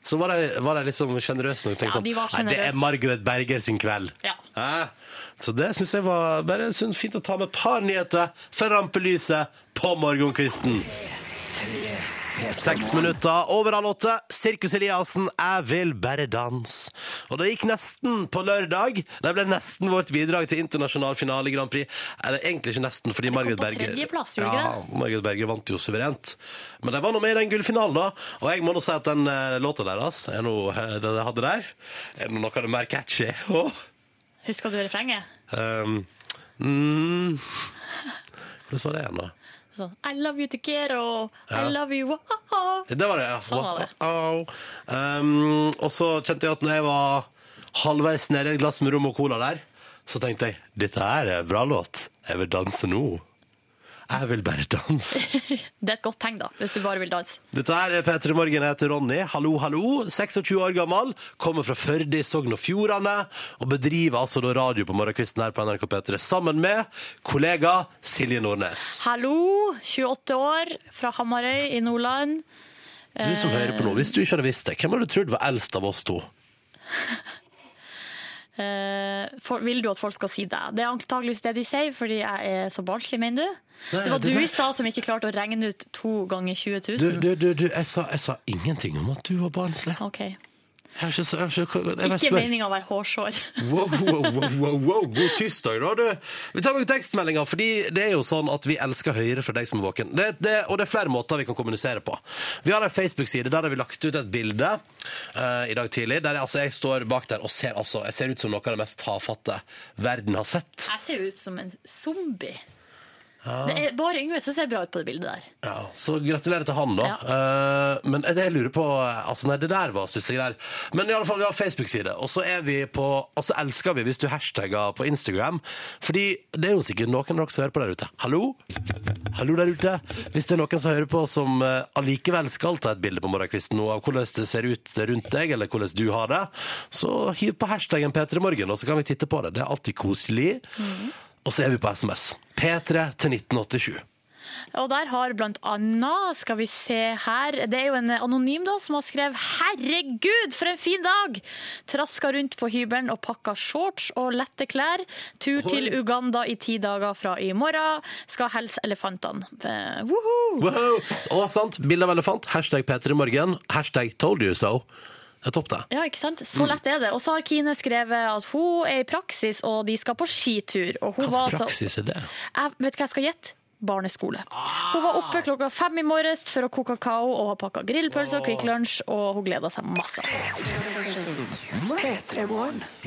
Så var de, var de liksom sjenerøse nok.
Ja,
Tenkte
de var
sånn, Nei, det
generøse.
er Margaret Berger sin kveld.
Ja.
Hæ? Så det syns jeg var bare sunt fint å ta med et par nyheter fra rampelyset på morgenkvisten. Seks minutter over halv åtte. Sirkus Eliassen, 'Jeg vil bare danse'. Og det gikk nesten på lørdag. Det ble nesten vårt bidrag til internasjonal finale i Grand Prix. Eller egentlig ikke nesten, fordi Margaret
på
Berger
tredjeplass, gjorde
ja,
det?
Margaret Berger vant jo suverent. Men de var nå med i den gullfinalen, da. Og jeg må nå si at den eh, låta deres, er nå, eh, det de hadde der, er nå noe av det mer catchy. [LAUGHS] Åh.
Husker du refrenget?
Um, mm, hvordan var det igjen, da?
Sånn, I love you, Tikero.
Ja.
I love you, wow.
Det var det, ja.
Sånn var det.
Wow. Um, og så kjente jeg at når jeg var halvveis nede i et glass med rom og cola der, så tenkte jeg dette her er en bra låt. Jeg vil danse nå. Jeg vil bare danse.
[LAUGHS] Det er et godt tegn, da, hvis du bare vil danse.
Dette her er P3 Morgen. Jeg heter Ronny. Hallo, hallo. 26 år gammel. Kommer fra Førde i Sogn og Fjordane. Og bedriver altså da radio på morgenkvisten her på NRK P3 sammen med kollega Silje Nordnes.
Hallo, 28 år, fra Hamarøy i Nordland.
Du som
Eh,
hører på nå, hvis du ikke hadde visst det, hvem hadde du trodd var eldst av oss to?
eh, for, vil du at folk skal si deg? Det er antageligvis det de sier, fordi jeg er så barnslig, mener du?
Nei,
det var
det
du
der-
i stad som ikke klarte å regne ut to ganger 20 000.
Du, du, du, du jeg, sa, jeg sa ingenting om at du var barnslig.
Ok.
Jeg har ikke, så- jeg har ikke, jeg bare
Ikke
spør.
meninga å være hårsår.
Wow, wow, wow, wow, wow, god tirsdag, da, du. Vi tar noen tekstmeldinger, fordi det er jo sånn at vi elsker høyere fra deg som er våken. Det, det, og det er flere måter vi kan kommunisere på. Vi har en Facebook-side der har vi lagt ut et bilde eh, i dag tidlig, der jeg, altså, jeg står bak der og ser, altså, jeg ser ut som noe av det mest tafatte verden har sett.
Jeg ser jo ut som en zombie.
Ja.
Det er bare Yngve som ser bra ut på det bildet der.
Ja, så gratulerer til han, da. Eh, men det jeg lurer på eh, Altså, nei, det der var stusslige greier. Men i alle fall, vi har Facebook-side, og så er vi på Og så elsker vi hvis du hashtagger på Instagram, fordi det er jo sikkert noen av dere som hører på der ute. Hallo? Hallo der ute. Hvis det er noen som hører på som eh, allikevel skal ta et bilde på morgenkvisten nå av hvordan det ser ut rundt deg, eller hvordan du har det, så hiv på hashtaggen P3morgen, og så kan vi titte på det. Det er alltid koselig. Og så er vi på SMS. P3 til 1987.
Og der har blant annet, skal vi se her, det er jo en anonym da, som har skrevet «Herregud, for en fin dag!» Traska rundt på hybelen og pakka shorts og lette klær. Tur til
Oi.
Uganda i ti dager fra i morgen. Skal helse elefantene. Eh, Woho!
Wow. Og sant, bilde av elefant, hashtag Peter i morgen, hashtag told you so. Det er topp, det.
Ja, ikke sant?
Mm.
Så lett er det. Og så har Kine skrevet at hun er i praksis, og de skal på skitur. Og hun
Hva slags
var altså-
praksis er det?
Jeg vet hva jeg skal gjette. Barneskole. Hun var
Ah.
oppe klokka fem i morges for å koke kakao og har pakka grillpølse og Kvikk Lunsj, og hun gleda seg masse.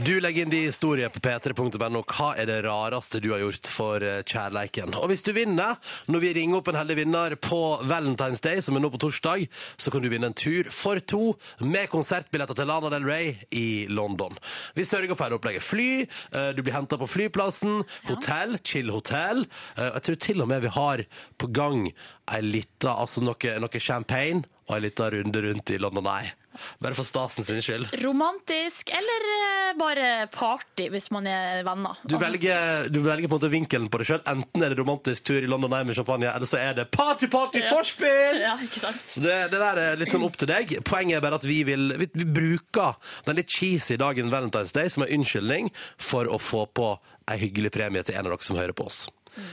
Du legger inn de historier på p3.no. Hva er det rareste du har gjort for eh, kjærleiken? Og hvis du vinner, når vi ringer opp en heldig vinner på Valentine's Day, som er nå på torsdag, så kan du vinne en tur for to med konsertbilletter til Lana Del Rey i London. Vi sørger for hele opplegget. Fly, eh, du blir henta på flyplassen, hotell, chill hotell. Eh, Jeg tror til og med vi har på gang ei lita, altså noe, noe champagne og ei lita runde rundt i London Eye. Bare for stasen sin skyld.
Romantisk eller eh, bare party, hvis man er venner.
Du velger, du velger på en måte vinkelen på det sjøl. Enten er det romantisk tur i London Eye med champagne, eller så er det party, party,
Ja.
forspill!
Altså, Ja, ikke sant?
Så det, det der er litt sånn opp til deg. Poenget er bare at vi, vil, vi, vi bruker den litt cheesy dagen Valentine's Day som en unnskyldning for å få på ei hyggelig premie til en av dere som hører på oss.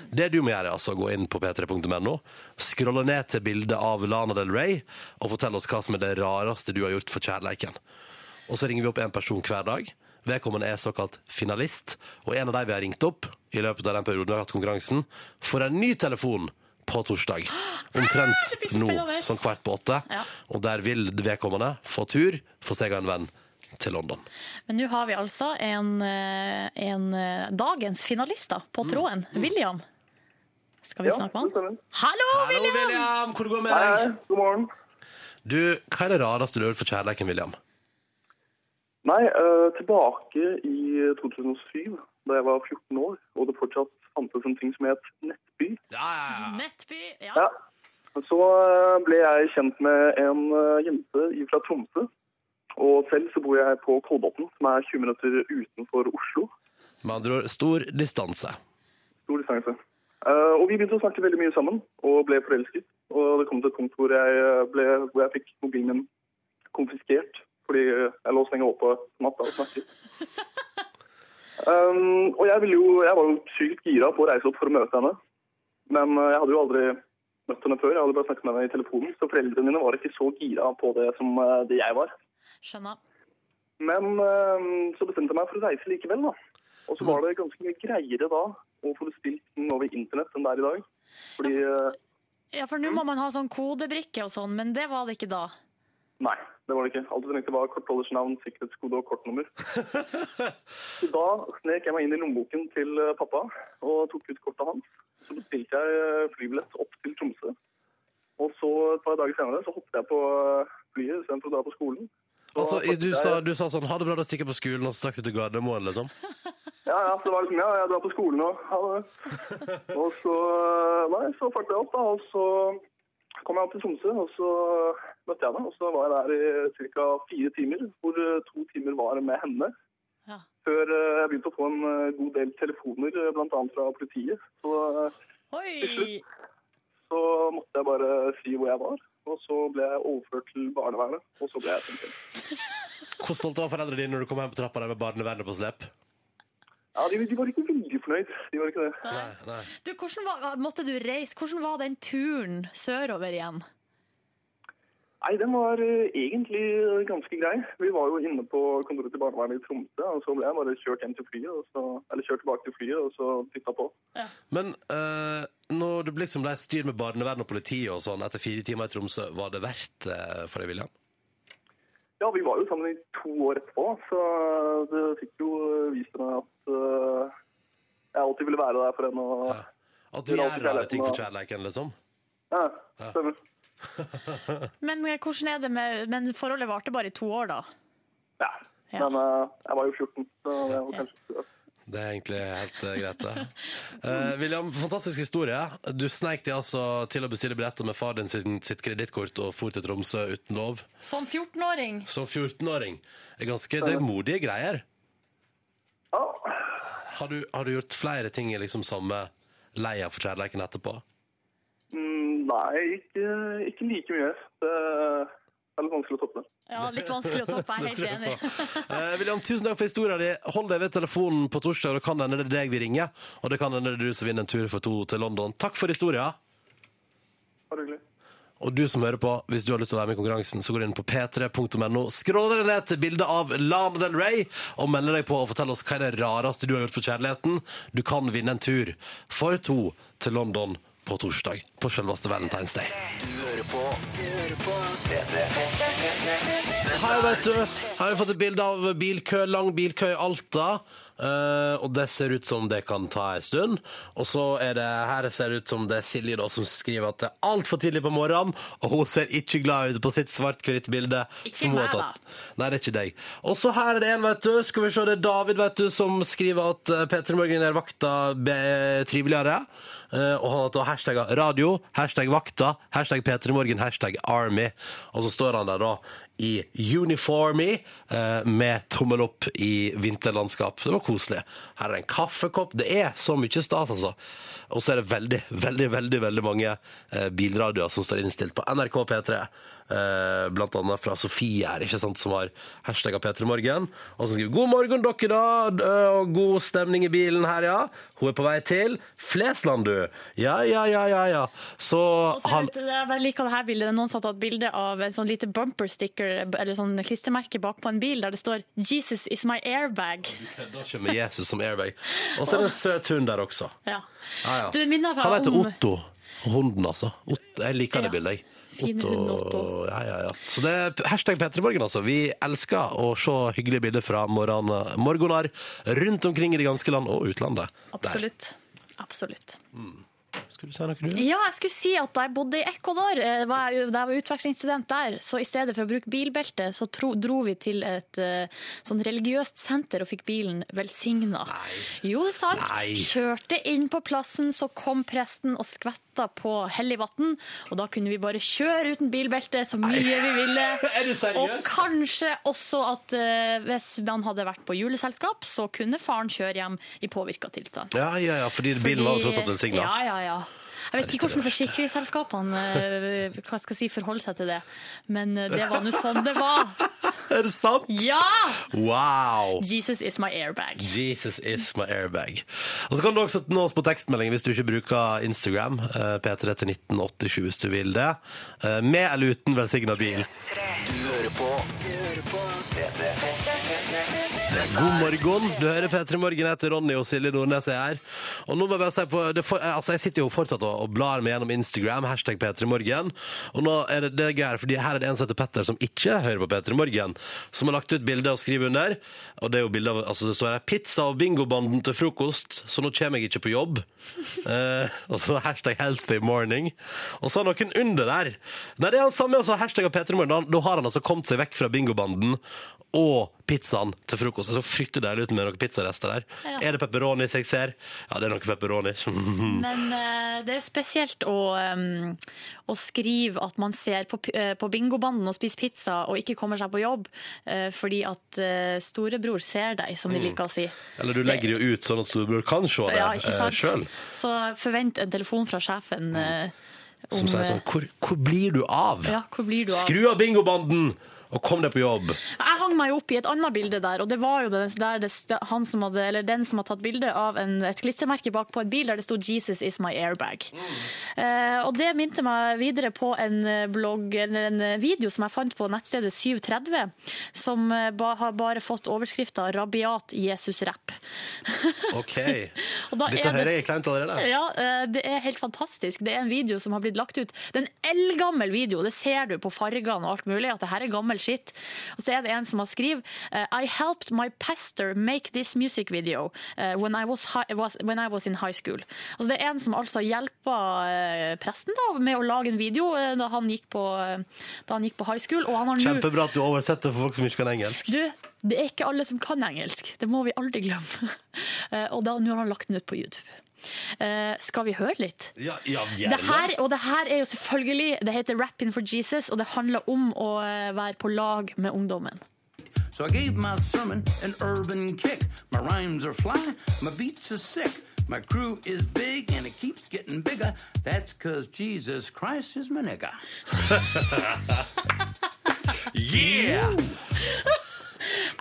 Det du må gjøre, er altså å gå inn på p3.no, scrolle ned til bildet av Lana Del Rey, og fortelle oss hva som er det rareste du har gjort for kjærleiken. Og så ringer vi opp en person hver dag. Vedkommende er såkalt finalist, og en av de vi har ringt opp i løpet av den perioden vi har hatt konkurransen, får en ny telefon på
[GASPS]
torsdag. Omtrent
blir
nå,
spennende.
sånn kvart på åtte.
Ja.
Og der vil vedkommende få tur for seg og en venn til London.
Men nå har vi altså en, eh, en eh, dagens finalist da,
Mm.
på tråden. William. Skal vi
Ja,
snakke med han? Hallo, William!
Hvor går
Hei, hei. God morgen.
Du, hva er det rareste du har gjort for kjærleiken, William?
Nei, eh, tilbake i eh, 2007, da jeg var 14 år, og det fortsatt fantes en ting som het Nettby.
Nettby, ja.
Ja. Så eh, ble jeg kjent med en eh, jente fra Tromsø. Og selv så bor jeg på Kolbotn, som er 20 minutter utenfor Oslo.
Med andre ord, stor distanse.
Stor distanse. Eh, og vi begynte å snakke veldig mye sammen, og ble forelsket. Og det kom til et punkt hvor jeg, eh, ble, hvor jeg fikk mobilen min konfiskert, fordi eh, jeg lå så lenge oppe på natta og snakket. Um, og jeg, ville jo, jeg var jo sykt gira på å reise opp for å møte henne, men eh, jeg hadde jo aldri møtt henne før. Jeg hadde bare snakket med henne i telefonen. Så foreldrene mine var ikke så gira på det som eh, det jeg var.
Skjønner.
Men eh, så bestemte jeg meg for å reise likevel, da. Og så var det ganske mye greiere da å få det spilt inn over internett enn det er i dag. Fordi eh,
Ja, for nå
Mm.
må man ha sånn kodebrikke og sånn, men det var det ikke da.
Nei, det var det ikke. Alt du trengte var kortholders navn, sikkerhetskode og kortnummer. Så da snek jeg meg inn i lommeboken til eh, pappa og tok ut kortet hans. Så bestilte jeg eh, flybillett opp til Tromsø. Og så et par dager senere så hoppet jeg på eh, flyet istedenfor å dra på skolen. Så
Altså, i- du
hoppet
sa,
jeg-
du sa sånn 'ha det bra, da stikker jeg på skolen', og så stakk du til Gardermoen, liksom?
Ja, ja, så det var liksom, ja, jeg drar på skolen nå. Ha det. Og så, eh, nei, så fartet jeg opp da, og så kom jeg opp til Tromsø, og så møtte jeg henne. Og så var jeg der i ca. fire timer, hvor eh, to timer var med henne.
Ja.
Før eh, jeg begynte å få en eh, god del telefoner, eh, blant annet fra politiet. Så eh, til
Oi!
slutt så måtte jeg bare si hvor jeg var. Og så ble jeg overført til barnevernet, og så ble jeg sendt hjem.
Hvor stolt var foreldrene dine når du kom hjem på trappa der med barnevernet på slep?
Ja, de, de var ikke veldig fornøyd. De var ikke det.
Nei, nei.
Du, hvordan var, måtte du reise? Hvordan var den turen sørover igjen?
Nei, den var eh, egentlig eh, ganske grei. Vi var jo inne på kontoret til barnevernet i Tromsø, og så ble jeg bare kjørt hjem til flyet, og så, eller kjørt tilbake til flyet, og så dytta på.
Men eh, når det liksom ble styr med barnevern og politi og sånn etter fire timer i Tromsø, var det verdt eh, for deg, William?
Ja, vi var jo sammen i to år etterpå, så det fikk jo eh, vist meg at eh, jeg alltid ville være der for henne. Og,
At du
ville
gjør
alltid
rare ting for
kjærligheten,
kjærleiken, liksom?
og- Ja, stemmer.
Men eh, hvordan er det med Men forholdet varte bare i to år, da.
Ja. Men eh, jeg var jo 14, så det var kanskje ikke så-
Det er egentlig helt eh, greit, det. Eh, William, fantastisk historie. Du sneik deg altså til å bestille billetter med far din sin, sitt kredittkort og for til Tromsø uten lov.
Som 14-åring.
Som 14-åring. Det er Ganske det er modige greier. Har du, har du gjort flere ting i liksom samme leia for kjærleiken etterpå?
Mm, Nei, ikke, ikke like mye. Det er litt vanskelig å toppe det.
Ja, litt vanskelig å toppe, jeg er
Det
helt
tror jeg
enig.
Eh, William, tusen takk for historien din. Hold deg ved telefonen på torsdag, og det kan hende det er deg vi ringer. Og det kan hende det er du som vinner en tur for to til London. Takk for historien.
Bare hyggelig.
Og du som hører på, hvis du har lyst til å være med i konkurransen, så gå inn på p3.no. Skroll deg ned til bildet av Lana Del Rey, og meld deg på og fortell oss hva er det rareste du har gjort for kjærligheten. Du kan vinne en tur for to til London på torsdag, på selveste Valentine's Day.
Du hører på Du hører på P3.
Her, vet du, her har vi fått et bilde av bilkø, lang bilkø i Alta. eh, og det ser ut som det kan ta en stund. Og så er det her ser det ut som det er Silje da, som skriver at det er altfor tidlig på morgenen, og hun ser ikke glad ut på sitt svart-hvitt bilde.
Ikke
som hun har
meg,
tatt. Nei, det er ikke deg. Og så her er det en, vet du. Skal vi se, det er David, vet du, som skriver at eh, P3 Morgen er vakta be- triveligere. Eh, Og han har tatt hashtagga radio, hashtag vakta, hashtag P3 Morgen, hashtag army. Og så står han der da i uniformy eh, med tommel opp i vinterlandskap. Det var koselig. Her er det en kaffekopp. Det er så mye stas, altså. Og så er det veldig, veldig, veldig veldig mange eh, bilradioer som står innstilt på NRK P3. Eh, blant annet fra Sofie her, ikke sant, som har hashtagga P3morgen. Og som skriver 'God morgen, dere, da', d- og 'god stemning i bilen her, ja'. Hun er på vei til Flesland, du. Ja, ja, ja, ja, ja. Så han
Det- Jeg bare liker det her bildet. Det er noen som har tatt bilde av en sånn lite bumper sticker, eller sånn klistremerke bakpå en bil, der det står 'Jesus is my airbag'.
Da kommer Jesus som airbag. Og så er det en søt hund der også.
Ja.
Ja, ja.
Du, det minner meg
Han heter
om-
Otto. Hunden, altså. Otto. Jeg liker det
Ja.
bildet, jeg.
Fin hund, Otto.
Ja, ja, ja. Så det er hashtag Petremorgen, altså. Vi elsker å se hyggelige bilder fra morgen- morgener rundt omkring i det ganske land og utlandet.
Absolutt. Absolutt.
Der. Skulle du si noe, du?
Ja, jeg skulle si at da jeg bodde i Ecuador, eh, var jeg, jo- da jeg var utvekslingsstudent der, så i stedet for å bruke bilbelte, så tro, dro vi til et eh, sånn religiøst senter og fikk bilen velsigna. Jo, det er sant.
Nei.
Kjørte inn på plassen, så kom presten og skvetta på hellig vann, og da kunne vi bare kjøre uten bilbelte så mye vi ville.
[LAUGHS] Er du seriøs?
Og kanskje også at eh, hvis man hadde vært på juleselskap, så kunne faren kjøre hjem i påvirka tilstand.
Ja, ja, ja, fordi bilen var tross alt velsigna.
Ja, ja, ja. Jeg vet ikke hvordan forsikringsselskapene eh, hva skal jeg si, forholder seg til det, men eh, det
[LAUGHS]
var nå sånn det var.
Er det sant?
Ja!
Wow!
Jesus is my airbag.
Jesus is my airbag. Og så kan du også nå oss på tekstmelding hvis du ikke bruker Instagram. eh, P3 til 1987 hvis du vil det. Eh, Med eller uten velsigna bil.
Du hører på Du hører på P3.
God morgen. Du hører P3 Morgen heter Ronny og Silje Nordnes er her. Og nå må jeg bare si på det for, eh, Altså, jeg sitter jo fortsatt og, og blar meg gjennom Instagram, hashtag P3 Morgen. Og nå er det, det er gøy, her, fordi her er det en som heter Petter som ikke hører på P3 Morgen, som har lagt ut bilde og skriver under. Og det er jo bilde av Altså, det står her 'Pizza og bingobanden til frokost', så nå kommer jeg ikke på jobb. [LAUGHS] Eh, og så hashtag 'healthy morning'. Og så har noen under der. Nei, det er han samme, altså. Hashtag P3 Morgen. Da- Da har han altså kommet seg vekk fra bingobanden og pizzaen til frokost. Det så fryktelig deilig ut med noen pizzarester der.
Ja.
Er det pepperoni jeg ser? Ja, det er noe pepperoni. [LAUGHS]
Men eh, det er jo spesielt å, em, å skrive at man ser på, pi- eh, på bingobanden og spiser pizza og ikke kommer seg på jobb eh, fordi at eh, storebror ser deg, som de
Mm.
liker å si.
Eller du legger det jo ut sånn at storebror kan se det
Ja, ikke
eh,
sant?
sjøl.
Så forvent en telefon fra sjefen eh, om eh,
Som sier sånn hvor, hvor blir du av?
Ja, hvor blir du av?
Skru av bingobanden og kom deg på jobb!
Jeg hang meg jo opp i et annet bilde der, og det var jo den, der det, st- han som hadde, eller den som hadde tatt bilde av en, et klistremerke bak på et bil der det stod 'Jesus is my airbag'. Eh, og det minte meg videre på en eh, blogg, eller en eh, video som jeg fant på nettstedet 730, som eh, ba, har bare fått overskrifta 'Rabiat Jesus-rapp'.
OK.
[LAUGHS] Og da
Dette
er det-
hører jeg kleint allerede.
Ja, eh, det er helt fantastisk. Det er en video som har blitt lagt ut. Det er en eldgammel video, det ser du på fargene og alt mulig, at det her er gammel skitt. Og så er det en som har skrevet eh, I helped my pastor make this music video eh, when, I was hi was, when I was in high school. Altså det er en som altså hjelpa eh, presten da, med å lage en video eh, da, han gikk på, da han gikk på high school, og han har nå
Kjempebra at du oversetter for folk som ikke kan engelsk.
du, det er ikke alle som kan engelsk. Det må vi aldri glemme. [LAUGHS] Eh, Og da, nå har han lagt den ut på YouTube. Eh, skal vi høre litt?
Ja, ja,
Det her, og det her er jo selvfølgelig Det heter 'Rapping for Jesus', og det handler om å eh, være på lag med ungdommen.
So I gave my sermon an urban kick. My rhymes are fly, my beats are sick. My crew is big and it keeps getting bigger. That's cause Jesus Christ is my nigga.
[LAUGHS] yeah!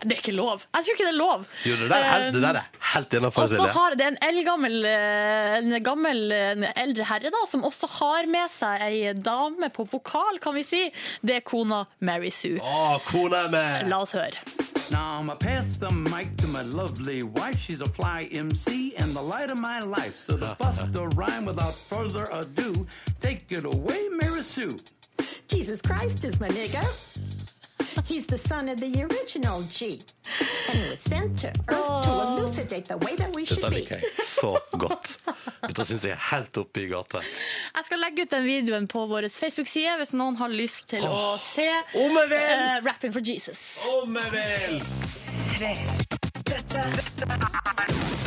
Det er ikke lov. Jeg tror ikke det er lov. Eh,
Jo, det der, er helt- det der er helt innafor,
Og så
Silje.
har det en eldgammel, eh, en gammel en eldre herre da, som også har med seg ei dame på vokal, kan vi si. Det er kona Mary Sue.
Å, kona er med!
La oss høre.
Now I'ma pass the mic to my lovely wife. She's a fly MC and the light of my life. So
[LAUGHS]
to bust the rhyme without further ado, take it away, Mary Sue.
Jesus Christ is my nigga. He's the son of the original G. And he was sent to earth
Oh.
to elucidate the way that we should
Dette
be.
liker jeg så godt. Dette syns jeg er helt oppe i gata.
Jeg skal legge ut den videoen på vår Facebook-side hvis noen har lyst til å
Åh,
se
om jeg vil!
eh, 'Rapping for Jesus'.
Om jeg vil!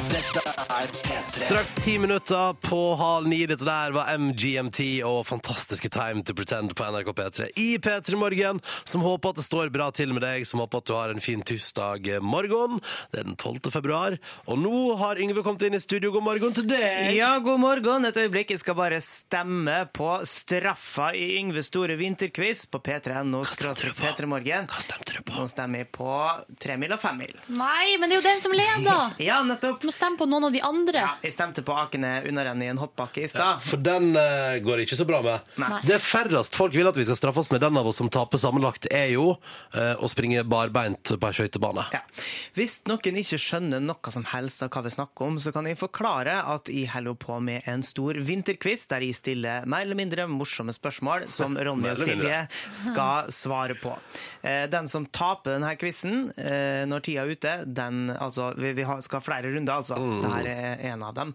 Dette er P3.
Straks ti minutter på halv ni. Dette der var MGMT og fantastiske Time to Pretend på NRK P3 i P3 Morgen, som håper at det står bra til med deg, som håper at du har en fin tirsdag morgen. Det er den 12. februar, og nå har Yngve kommet inn i studio. God morgen til deg!
Ja, god morgen. Et øyeblikk. Jeg skal bare stemme på straffa i Yngves store vinterquiz på p3.no. Hva stemte
du
på? Nå stemmer jeg på tremil og femmil.
Nei, men det er jo den som leder!
Ja, nettopp.
Du må stemme på noen av de andre.
Jeg stemte på Akene unnarenn i en hoppbakke i stad.
For den eh, går det ikke så bra med.
Nei.
Det færrest folk vil at vi skal straffe oss med. Den av oss som taper sammenlagt, er jo eh, å springe barbeint på ei skøytebane.
Hvis noen ikke skjønner noe som helst av hva vi snakker om, så kan jeg forklare at jeg holder på med en stor vinterquiz der jeg stiller mer eller mindre morsomme spørsmål som Ronny og
Mer eller
Silje
mindre.
skal svare på. Eh, Den som taper denne quizen eh, når tida er ute, den, altså, vi vi har- skal ha flere runder, altså.
Mm.
Dette er en av dem.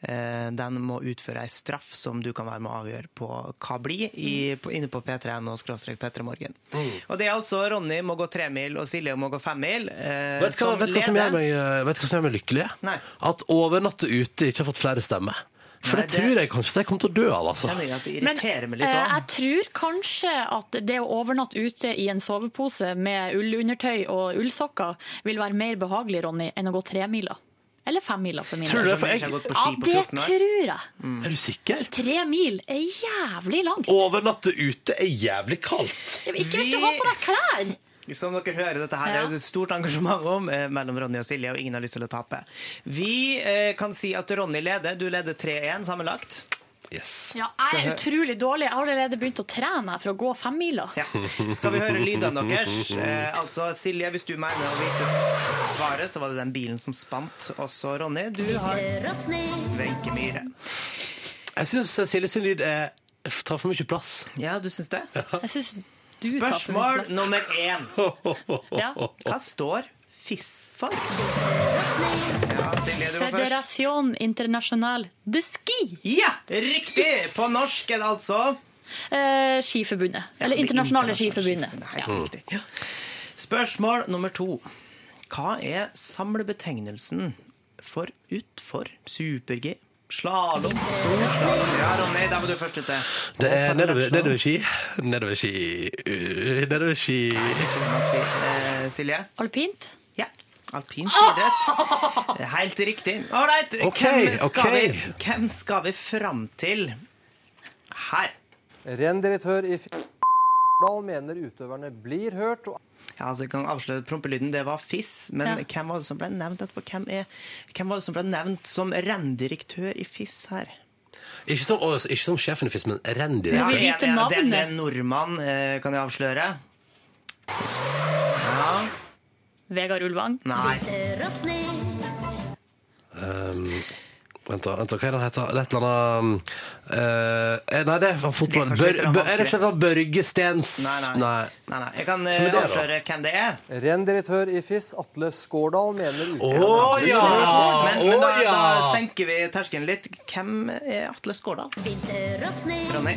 Eh, Den må utføre ei straff som du kan være med å avgjøre på hva blir, i- på- inne på p3.no p3 morgen.
Mm.
Og det er altså Ronny må gå tremil, og Silje må gå femmil. Eh,
Vet du hva, vet du hva som gjør
leder-
meg, eh, vet du hva som gjør meg lykkelig?
Nei.
At overnatte ute ikke har fått flere stemmer. For
Nei,
det, tror jeg kanskje at jeg kommer til å dø av, altså.
Kjenner jeg at det
Men
irriterer meg
eh,
litt òg.
jeg tror kanskje at det å overnatte ute i en sovepose med ullundertøy og ullsokker vil være mer behagelig, Ronny, enn å gå tremila. Eller femmila for min
Tror du det er for- jeg-
Ja, det tror jeg.
Er du sikker?
Tre mil er jævlig langt.
Overnatte ute er jævlig kaldt.
Ja, men Ikke hvis du har på deg klær!
Som dere hører, dette her er det et stort engasjement om eh, mellom Ronny og Silje, og ingen har lyst til å tape. Vi eh, kan si at Ronny leder. Du leder 3-1 sammenlagt.
Ja,
Skal
jeg
jeg
er
hø-
utrolig dårlig. Jeg har allerede begynt å trene her for å gå femmila.
Skal vi høre lydene deres? Eh, altså, Silje, hvis du mener å vite svaret, så var det den bilen som spant. Også Ronny, du har Wenche Myhre.
Jeg syns
eh,
Silje sin lyd er- tar for mye plass.
Ja, du syns det?
Jeg syns du
Spørsmål nummer én.
Ja.
Hva står fiss for? Ja, Silje, du var først.
Federation International de Ski.
Ja, riktig! På norsk er det altså
eh, Skiforbundet. Eller Internasjonale Skiforbundet.
Helt riktig. Ja. Spørsmål nummer to. Hva er samlebetegnelsen for utfor super-G? Slalåm, storslalåm Ja, Ronny, der var du først ute.
Det er Eh, nedover, nedover ski. Nedover ski. øh, Nedover ski.
Eh, Silje?
Alpint?
Ja. Alpin skidrett. Helt riktig. Ålreit,
Ok,
hvem, skal
ok.
vi- hvem skal vi fram til her?
Renndirektør i Fjelldal mener utøverne blir hørt. og
Ja, altså, jeg kan avsløre prompelyden. Det var fiss. Men
Ja.
hvem var det som ble nevnt etterpå? Hvem, er, hvem var det som ble nevnt som renndirektør i fiss her?
Ikke som, å, ikke som sjefen i Fisk, men
Ja,
rendirektør.
en- en- Det, det er en nordmann, eh, kan jeg avsløre. Ja.
Vegard Ulvang?
Nei.
Um, Vent, da, vent da, hva er det han heter? Det er et eller annet eh, eh, Nei, det er han fotballen.
Det er kanskje
Bør,
litt
bør, er det ikke et eller annet Børge Stens?
Nei, nei. Nei, nei. Jeg kan eh,
Hvem er det, da?
avsløre hvem det er.
Renndirektør i FIS, Atle Skårdal, mener
Å,
utøverne
ja!
Men, men da,
Å, ja!
da senker vi terskelen litt. Hvem er Atle Skårdal? Ronny.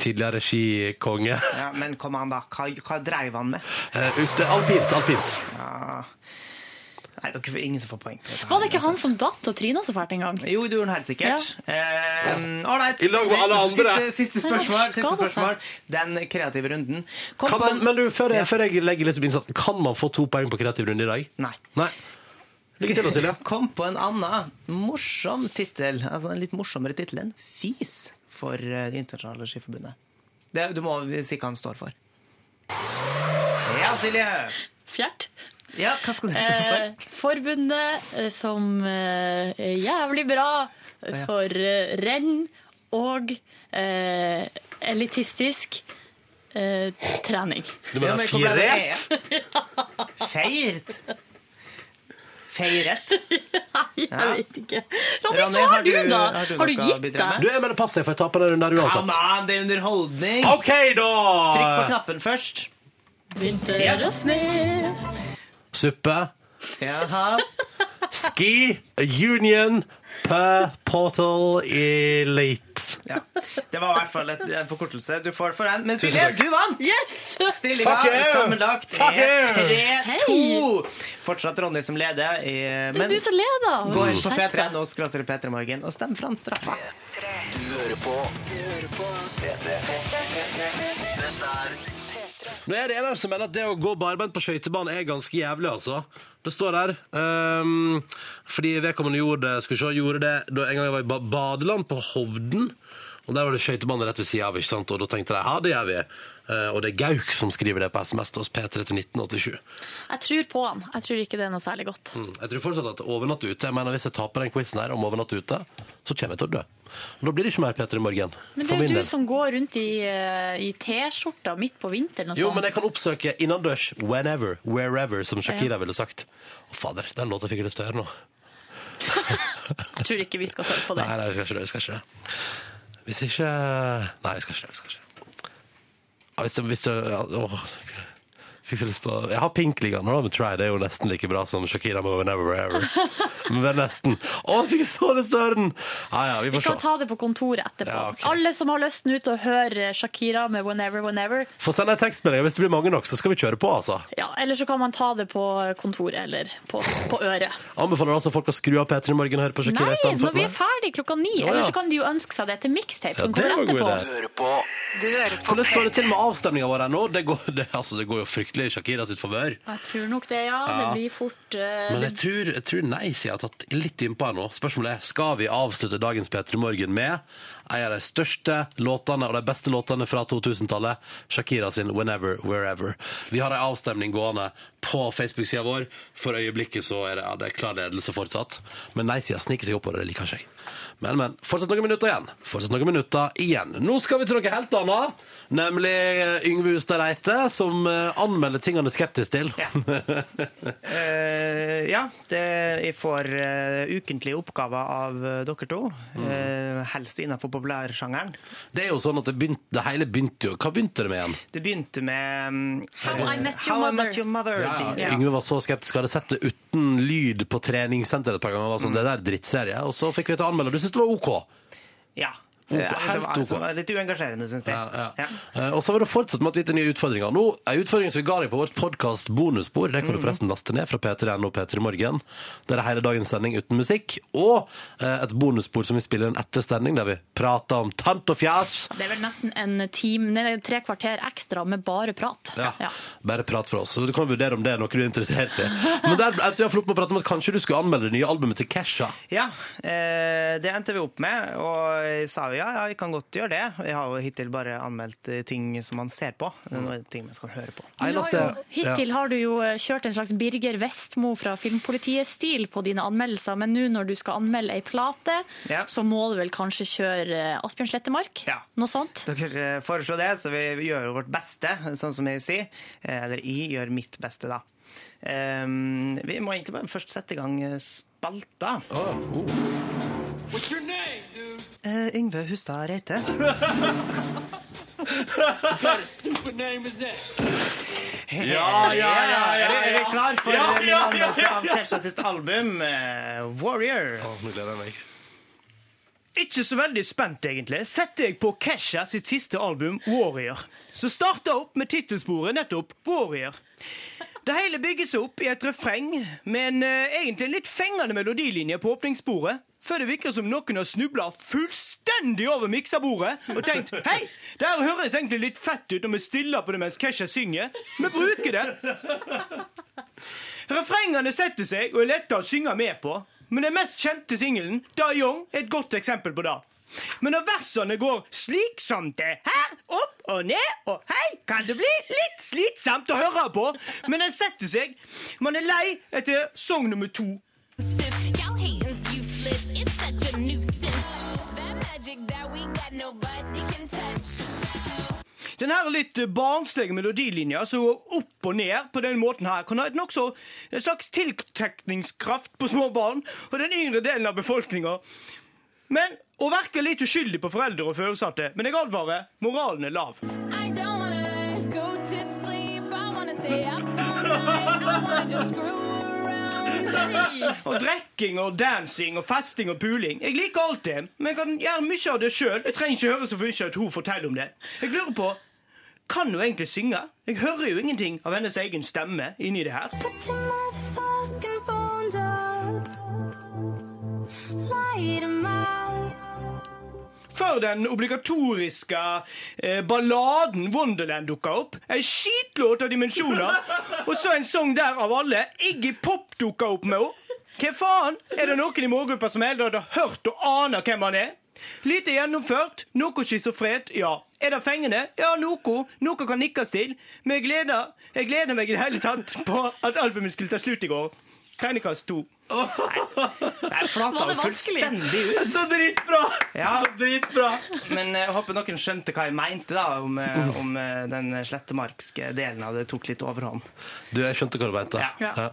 Tidligere skikonge.
Ja, men kom an, da. Hva, hva dreiv han med?
Eh, ute. Alpint, alpint.
Ja. Nei, dere får ingen som får poeng. på dette her.
Var det ikke han som datt og tryna så fælt en gang?
Jo, det gjorde han helt sikkert. Ehm, all right.
I lag med alle andre.
Siste, siste
Nei,
spørsmål.
hva
Siste
skader seg?
spørsmål. Den kreative runden. Kom
Kan
på
man,
en-
men du, før jeg,
Ja.
før jeg legger liksom innsatsen, kan man få to poeng på kreativ runde i dag?
Nei.
Lykke til da, Silje.
[LAUGHS] Kom på en annen morsom tittel. Altså en litt morsommere tittel enn FIS for eh, Det internasjonale skiforbundet. Det, du må si hva han står for. Ja, Silje.
Fjert?
Ja, hva skal det stå for?
Eh, forbundet eh, som eh, er jævlig bra
Å, ja.
for eh, renn og eh, elitistisk eh, trening. [LAUGHS]
Du mener
Ja, men jeg kommer [LAUGHS] Feirt? Feiret?
Jeg
Ja.
vet ikke. Ronny, så har du, da! Har du gitt deg?
Du, jeg mener pass deg, for jeg taper den runden her
Come
uansett.
on, det er underholdning!
OK, da!
Trykk på knappen først.
Vinter og snø.
Suppe.
Jaha.
Ski Union Per Portal Elite.
Ja. Det var i hvert fall et, en forkortelse. Du får for den. Men
Tusen
Silje,
takk.
du vant! Stillinga
Fuck you!
sammenlagt
Fuck
er
you!
3-2. Fortsatt Ronny som leder. eh,
Det er
Men
du som leder!
gå inn på
Skjerp
P3
deg.
nå, skråser P3 Morgen, og stem for han straffa.
Du hører på P3. Dette er
Nå er det en her som mener at det å gå barbeint på skøytebanen er ganske jævlig, altså. Det står der. ehm, fordi vedkommende gjorde det, skal vi se, gjorde det da en gang jeg var i ba badeland på Hovden. Og der var det skøytebane rett ved sida av, ikke sant? og da tenkte de ja, det gjør vi. Eh, og det er Gauk som skriver det på SMS til oss, P3 til 1987.
Jeg tror på han. Jeg tror ikke det er noe særlig godt.
Mm. Jeg tror fortsatt at overnatt ute, jeg mener hvis jeg taper den quizen her om overnatt ute, så kommer jeg til å dø. Og da blir det ikke mer P3 Morgen.
Men det
for
er
min
jo
del.
du som går rundt i, eh, i T-skjorta midt på vinteren og
Jo,
sånn.
men jeg kan oppsøke innendørs whenever, wherever, som Shakira ville sagt. Å, fader, den låta fikk jeg lyst til å høre nå.
Jeg tror ikke vi skal svare på det.
Nei, nei, vi skal ikke det. Vi skal ikke det. Hvis ikke Nei, vi skal ikke det. Vi skal ikke det. Ja, hvis det, hvis det ja, åh, Fikk så lyst på Jeg har pink liggende, da, men try det er jo nesten like bra som Shakira med Whenever Wherever. [LAUGHS] Men det er nesten. Å, jeg fikk så lyst til å høre den! Ja ja, vi
Vi
får
kan
se.
ta det på kontoret etterpå.
Ja, ok.
Alle som har lysten ut til å høre Shakira med 'Whenever, Whenever',
Få sende en tekstmelding. Hvis det blir mange nok, så skal vi kjøre på, altså.
ja, eller så kan man ta det på kontoret eller på, på øret.
Anbefaler altså folk å skru av P3 Morgen og høre på Shakira
Nei,
i stedet
når
for
vi er ferdig klokka ni,
Ja, ja.
eller så kan de jo ønske seg det til mixtape
Ja,
som
det var
kommer
en god
etterpå.
idé. Hvordan står det til med avstemninga vår ennå? Det, går- det, altså, det går jo fryktelig virkelig i Shakira sitt favør.
Jeg tror nok det, ja.
Ja.
Det blir fort eh,
Men
det
jeg tror, jeg tror nei-sida har tatt litt innpå her nå. Spørsmålet er skal vi avslutte dagens P3 Morgen med en av de største låtene og de beste låtene fra 2000-tallet, Shakira sin 'Whenever, Wherever'. Vi har ei avstemning gående på Facebook-sida vår. For øyeblikket så er det, ja, det er klar ledelse fortsatt. Men nei-sida sniker seg oppover, og det liker ikke jeg. Men, men. Fortsatt noen minutter igjen. Fortsatt noen minutter igjen. Nå skal vi til noe helt annet, nemlig eh, Yngve Hustad Reite, som eh, anmelder ting han er skeptisk til.
Eh, ja, det, jeg får eh, ukentlige oppgaver av eh, dere to.
Mm.
eh, helst innenfor populærsjangeren.
Det er jo sånn at det, begynte, det hele begynte jo Hva begynte det med igjen?
Det begynte med mm,
How I
Met Your
How I
Mother.
Met Your Mother.
Ja,
de- ja.
Yngve var så skeptisk, hadde sett det uten lyd på treningssenteret et par ganger. og var Sånn, det der er drittserie. Og så fikk vi til å anmelde, og du syntes det var OK.
Ja.
Ok,
Eh, det, var,
helt ok.
det var litt uengasjerende, syns jeg.
Eh, Og så var det fortsatt med at vi gikk til nye utfordringer. Nå, En utfordring som vi ga deg på vårt podkast bonusbord, det kan du forresten laste ned fra p3.no P3 Morgen. Der er hele dagens sending uten musikk. Og eh, et bonusbord som vi spiller en ettersending, der vi prater om tant og fjas.
Det er vel nesten en time, nei, tre kvarter ekstra med bare prat.
Ja. Bare prat for oss. Så du kan vurdere om det er noe du er interessert i. Men der endte vi iallfall opp med å prate om at kanskje du skulle anmelde det nye albumet til Kesha.
Ja, eh, det endte vi opp med, og jeg sa jo ja, ja, vi kan godt gjøre det. Jeg har jo hittil bare anmeldt eh, ting som man ser på, men nå er det ting man skal høre på.
Men du har jo, hittil har du jo eh, kjørt en slags Birger Vestmo fra Filmpolitiet-stil på dine anmeldelser, men nå når du skal anmelde ei plate,
Ja.
så må du vel kanskje kjøre eh, Asbjørn Slettemark? Noe sånt?
Dere eh, foreslår det, så vi gjør jo vårt beste, sånn som jeg sier. Eh, Eller jeg gjør mitt beste, da. Eh, vi må egentlig bare først sette i gang eh, spalta.
What's your name, dude?
Eh, Yngve
[LAUGHS]
Hustad Reite.
What kind of stupid name is that?
Ja, ja, ja, ja, Er dere klar for
Ja, ja,
min
ja,
anmeldelse
ja,
av
ja.
Kesha sitt album eh, Warrior?
nå gleder jeg meg.
Ikke så veldig spent, egentlig, setter jeg på Kesha sitt siste album, Warrior. Så starter jeg opp med tittelsporet nettopp, Warrior. Det hele bygges opp i et refreng med en eh, egentlig en litt fengende melodilinje på åpningssporet, før det virker som noen har snubla fullstendig over miksebordet og tenkt Hei, det her høres egentlig litt fett ut når vi stiller på det mens Kesha synger. Vi bruker det. Refrengene setter seg og er lette å synge med på, men den mest kjente singelen, Da Young, er et godt eksempel på det. Men når versene går slik som det her, opp og ned og hei, kan det bli litt slitsomt å høre på, men den setter seg. Man er lei etter sang nummer to.
Y'all hating's useless. It's such a nuisance. That magic that we got, nobody can touch.
Den her litt eh, barnslige melodilinja som går opp og ned på den måten her, kan ha et nokså en slags tiltrekningskraft på små barn og den yngre delen av befolkninga. Men å virke litt uskyldig på foreldre og foresatte. Men jeg advarer, moralen er lav.
I don't wanna go to sleep. I wanna stay up all night. I wanna just screw around.
Og drikking og dancing og festing og puling. Jeg liker alt det, men jeg kan gjøre mye av det sjøl. Jeg trenger ikke høre så mye at hun forteller om det. Jeg lurer på kan hun egentlig synge? Jeg hører jo ingenting av hennes egen stemme inni det her.
Put your motherfucking phones up. Light 'em up.
Før den obligatoriske eh, balladen Wonderland dukka opp. Ei skitlåt av dimensjoner. Og så en sang der av alle. Iggy Pop dukka opp med henne. Hva faen? Er det noen i målgruppa som heller hadde hørt og aner hvem han er? Lite gjennomført, noe schizofrent, ja. Er det fengende? Ja, noe. Noe kan nikkes til. Men jeg gleder, jeg gleder meg i det hele tatt på at albumet skulle ta slutt i går. Tegnekast to. Nei, flata
Var det
jo
vanskelig?
fullstendig ut.
Så
dritbra! Så dritbra! Men eh, jeg håper noen skjønte hva jeg mente da, om, eh, om eh, den slettemarkske delen av det tok litt overhånd.
Du, jeg skjønte hva du mente.
Ja.
Ja.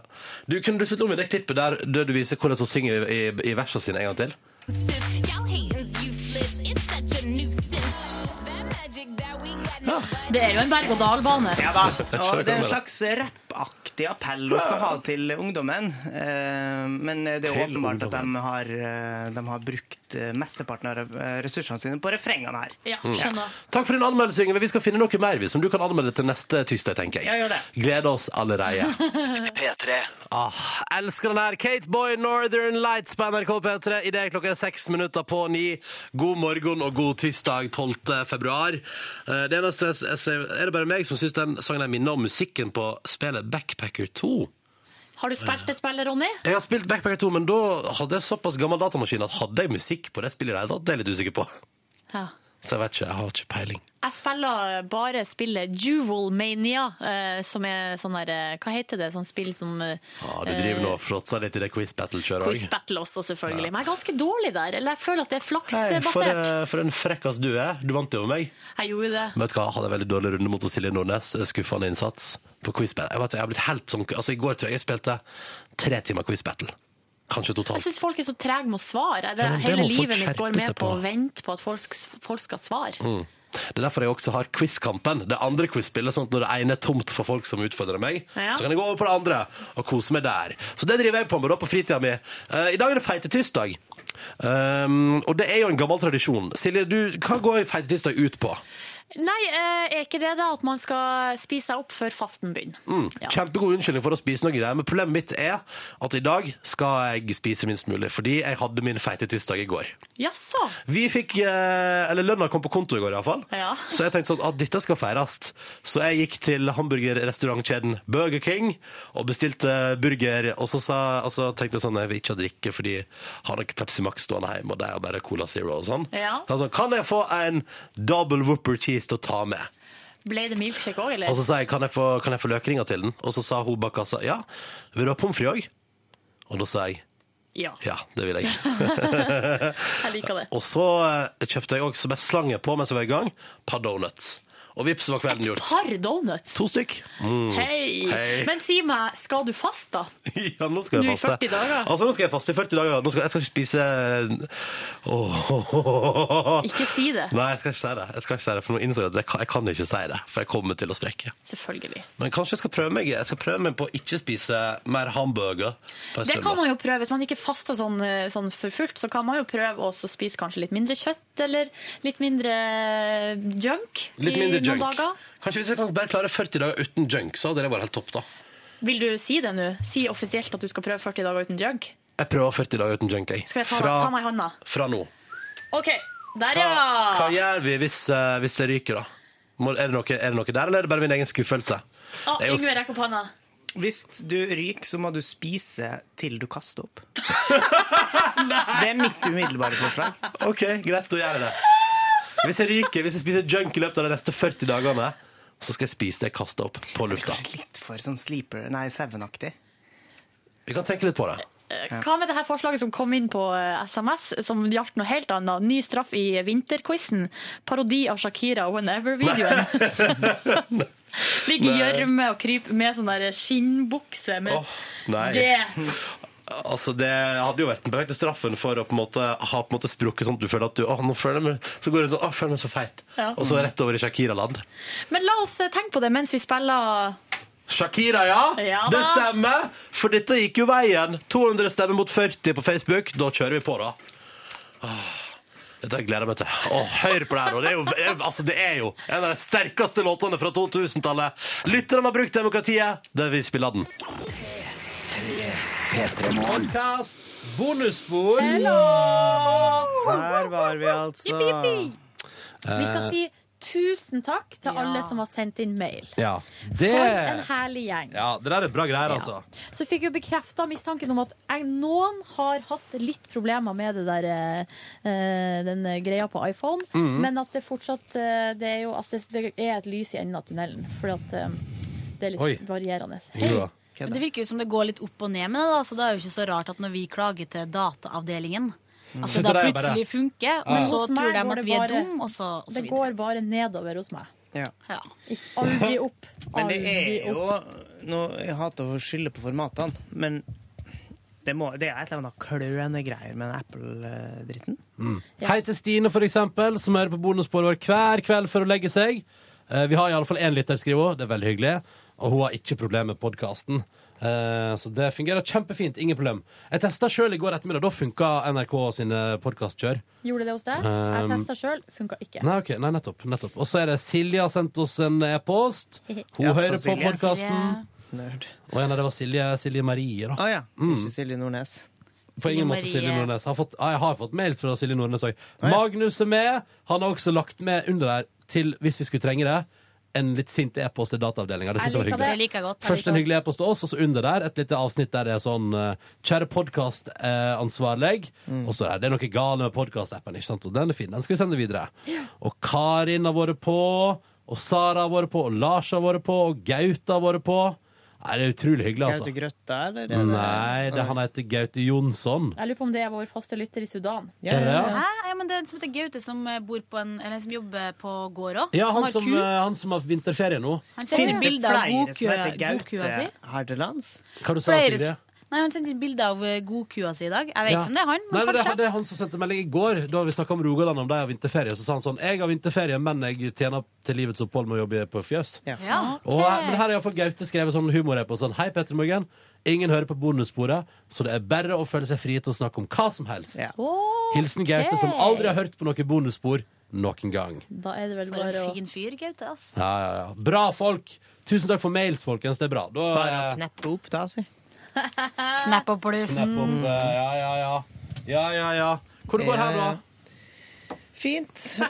Du, kunne du spilt om i det klippet der der du viser hvordan hun synger i, i versene sine en gang til?
Y'all hating's useless. It's such a nuisance. That magic that we got, nobody
Det er jo en berg-og-dal-bane.
Ja da. Og det er en slags
pep-aktig appell hun skal ha til ungdommen. Eh, Men det er jo Til åpenbart at de har, eh, de har brukt eh, mesteparten av eh, ressursene sine på refrengene her.
Ja,
Mm. Takk for din anmeldelse, Yngve. Vi skal finne noe mer vi, som du kan anmelde til neste tirsdag, tenker jeg.
Ja, gjør det.
Gleder oss
[LAUGHS]
allerede. P3. Ah, elsker den her. Kate Boy, Northern Lights på NRK P3. I det er klokka er seks minutter på ni. God morgen og god tirsdag 12. februar. Eh, Det eneste jeg, jeg, ser- er det bare meg som syns den sangen her minner om musikken på spillet Backpacker 2.
Har du spilt det spillet, Ronny?
Jeg har spilt Backpacker 2, men da hadde jeg såpass gammel datamaskin at hadde jeg musikk på det spillet i det hele tatt? Det er jeg litt usikker på.
Ja.
Så jeg vet ikke. Jeg har ikke peiling.
Jeg spiller eh, bare spillet Jewel Mania, eh, som er sånn der eh, Hva heter det? Sånn spill som eh,
Ja, du driver nå og fråtser litt i det quiz battle-kjøret
Quiz Battle også, selvfølgelig. Men jeg er ganske dårlig der. Eller jeg føler at det er
Hei, for,
flaksbasert.
eh, for en frekkas du er. Du vant jo over meg.
Jeg gjorde det.
Men Vet du hva, hadde en veldig dårlig runde mot Silje Nordnes. Eh, Skuffende innsats på quiz battle. Jeg, vet, ikke, jeg har blitt helt sånn Altså, I går tror jeg jeg spilte tre timer quiz battle. Kanskje
Jeg
totalt.
syns folk er så trege med å svare. Det,
Ja, men det
hele
må folk
livet mitt
skjerpe
går med
seg
på å
på.
vente på at folk, folk skal svare.
Mm. Det er derfor jeg også har Quizkampen. Det andre quizspillet, sånn at når det ene er tomt for folk som utfordrer meg,
Ja.
så kan jeg gå over på det andre og kose meg der. Så det driver jeg på med da på fritida mi. Eh, I dag er det feite tirsdag. Um, og det er jo en gammel tradisjon. Silje, du, hva går feite tirsdag ut på?
Nei, eh, er ikke det da at man skal spise seg opp før fasten begynner?
Mm. Kjempegod unnskyldning for å spise noe greier, men problemet mitt er at i dag skal jeg spise minst mulig, fordi jeg hadde min feite tirsdag i går.
Jaså?
Vi fikk, eh, eller Lønna kom på konto i går, iallfall.
Ja.
Så jeg tenkte sånn at dette skal feires. Så jeg gikk til hamburgerrestaurantkjeden Burger King og bestilte burger. Og så, sa, og så tenkte jeg sånn jeg vil ikke ha drikke, fordi jeg har nok Pepsi Max stående hjemme, og det er bare Cola Zero og sånn.
Ja.
Så jeg sa, kan jeg få en double whopper cheese til å ta med?
Ble det milkshake òg, eller?
Og så sa jeg, kan jeg få, kan jeg få løkringa til den? Og så sa hun bak kassa, ja, vil du ha pommes frites òg? Og da sa jeg,
Ja.
ja, det vil jeg.
[LAUGHS] Jeg liker det.
Og så eh, kjøpte jeg òg, som jeg slang på mens jeg var i gang, par donuts. Og vips var kvelden gjort.
Par donuts.
To stykk. [LAUGHS] Mm.
Hei. Men si meg, skal du fast, da?
ja, nå skal
Nå i
jeg faste.
40 dager.
Altså, nå skal jeg faste i 40 dager. Nå skal, jeg skal ikke spise eh,
[LAUGHS]
Åh.
Ikke si det.
Nei, jeg skal ikke si det. Jeg skal ikke si det, For nå innså jeg at jeg kan, jeg kan ikke si det, for jeg kommer til å sprekke.
Selvfølgelig.
Men kanskje jeg skal prøve meg Jeg skal prøve meg på å ikke spise mer hamburger. På en
Det kan
søndag.
man jo prøve. Hvis man ikke faster sånn, eh, sånn for fullt, så kan man jo prøve også å spise kanskje litt mindre kjøtt, eller litt mindre junk
Litt mindre
i noen
junk.
dager.
Kanskje hvis jeg kan bare klare 40 dager uten junk, så hadde det vært helt topp, da.
Vil du si det nå? Si offisielt at du skal prøve 40 dager uten junk?
Jeg prøver 40 dager uten junk, jeg.
Skal jeg ta,
Fra-
ta meg i hånda?
Fra nå.
OK. Der,
Hva
ja!
gjør vi hvis, eh, hvis det ryker, da? Må, er, det noe, er det noe der, eller er det bare min egen skuffelse?
Å,
Det er jo-
Yngve, rekk opp hånda.
Hvis du ryker, så må du spise til du kaster
[LAUGHS]
opp. det er mitt umiddelbare forslag.
OK, greit, da gjør jeg det. Hvis jeg ryker, hvis jeg spiser junk i løpet av de neste 40 dagene, så skal jeg spise det jeg kaster opp på lufta.
Litt for sånn sleeper, nei, sevenaktig.
Vi kan tenke litt på det.
Eh, Hva med det her forslaget som kom inn på eh, SMS, som gjaldt noe helt annet? Ny straff i vinterquizen. Parodi av Shakira Whenever-videoen. [LAUGHS]
[LAUGHS]
Ligge i
Nei.
gjørme og krype med sånn der skinnbukse. Men
Nei.
det
Altså, det hadde jo vært den perfekte straffen for å på en måte ha på en måte sprukket sånn at du føler at du Å, nå føler jeg meg Så går du rundt sånn Å, føler jeg meg så feit.
Ja.
Og så rett over i Shakira-land.
Men la oss eh, tenke på det mens vi spiller
Shakira, ja.
Ja da.
det stemmer. For dette gikk jo veien. 200 stemmer mot 40 på Facebook. Da kjører vi på, da. Åh, Dette har jeg gleder jeg meg til. Åh, hør på det her nå. Det er, jo, det er- altså, det er jo en av de sterkeste låtene fra 2000-tallet. Lytterne har brukt demokratiet. Det vi spiller den. Podcast, bonusbord.
Her var vi altså.
Jippi, jippi. Vi skal
Eh.
si tusen takk til alle som har sendt inn mail.
Ja,
For en herlig gjeng.
ja, det der er bra greier, altså.
Så fikk vi bekrefta mistanken om at jeg, noen har hatt litt problemer med det der, eh, den greia på iPhone,
Mhm.
men at det fortsatt eh, Det er jo at det, det er et lys i enden av tunnelen, fordi at eh, det er litt
Oi.
varierende.
Hei. Men det virker jo som det går litt opp og ned med det, da, så det er jo ikke så rart at når vi klager til dataavdelingen,
Mm.
at det
Sitter
da
der bare-
plutselig funker, og
Men
så
hos meg
tror de
går
at
det
vi er
bare-
dum, og så, og så
Det
videre.
går bare nedover hos meg.
Ja.
Ikke Aldri opp.
[LAUGHS] Men det er
Aldri
jo
opp.
nå, Jeg hater å skylde på formatene, men det, må, det er et eller annet kløende greier med den Apple-dritten.
Hei til Stine, for eksempel, som hører på bonussporet vår hver kveld før hun legger seg. Eh, Vi har iallfall én lytter, skriver hun. Det er veldig hyggelig. og hun har ikke problemer med podkasten. så det fungerer kjempefint. Ingen problem. Jeg testa sjøl i går ettermiddag. Da funka NRK sine podkastkjør.
Gjorde det hos deg? Jeg
Um,
testa sjøl, funka ikke.
Nei, ok, nei, nettopp. nettopp. Og så er det Silje har sendt oss en
[LAUGHS]
e-post. Hun
Ja, så
hører på
Silje.
podkasten.
Nerd.
Å ja, nei, det var Silje, Silje Marie, da.
Å ja.
Mm.
Ikke Silje Nordnes.
På ingen måte Silje Nordnes. Jeg har fått, ah, jeg har fått mails fra Silje Nordnes òg. Magnus er med. Han har også lagt med under der, til, hvis vi skulle trenge det, en litt sint e-post til Dataavdelinga. Det synes jeg var hyggelig.
Jeg liker godt.
Først en hyggelig e-post til oss, og så under der et lite avsnitt der det er sånn eh, Kjære podkastansvarlig. Og så er det noe galt med podkastappen, ikke sant? Og den er fin. Den skal vi sende videre. Og Karin har vært på, og Sara har vært på, og Lars har vært på, og Gaute har vært på. Nei, det er utrolig hyggelig, altså.
Gaute Grøtta, eller? er det-
Nei, det, han heter Gaute Jonsson.
Jeg lurer på om det er vår faste lytter i Sudan.
Er
Eh,
det det?
Hæ? Ja, men det er en som heter Gaute, som, eh, bor på en, eller, som jobber på gård òg.
Ja, han
har
som,
ku.
eh, han som har vinterferie nå.
Han sendte bilde av godkua godkua si.
Herdelands?
Hva du sa du,
Flere-
Silje?
Nei, Han sendte bilde av eh, godkua si i dag. Jeg vet
Ja.
ikke om det er han, men
Nei, men det,
kanskje.
det er han som sendte melding i går. Da vi snakka om Rogaland, om de har vinterferie. Så sa han sånn Jeg har vinterferie, men jeg tjener til livets opphold med å jobbe på fjøs.
Ja.
Og, her- men her har iallfall Gaute skrevet sånn humor på sånn Hei, Petter Morgen. Ingen hører på bonussporet, så det er bare å føle seg fri til å snakke om hva som helst. Hilsen Gaute, som aldri har hørt på noe bonusspor noen gang.
Da er det vel
For
bare
en
å
fin fyr, Gaute. ass.
Ja, ja, ja. Bra folk! Tusen takk for mails, folkens. Det er bra. Da,
Bare å
eh,
kneppe opp, da, si.
Knepp opp blusen.
knepp
Mm.
opp, eh, Ja, ja, ja. Ja, ja, ja. Hvor det går her,
Eh.
da?
Fint.
Kan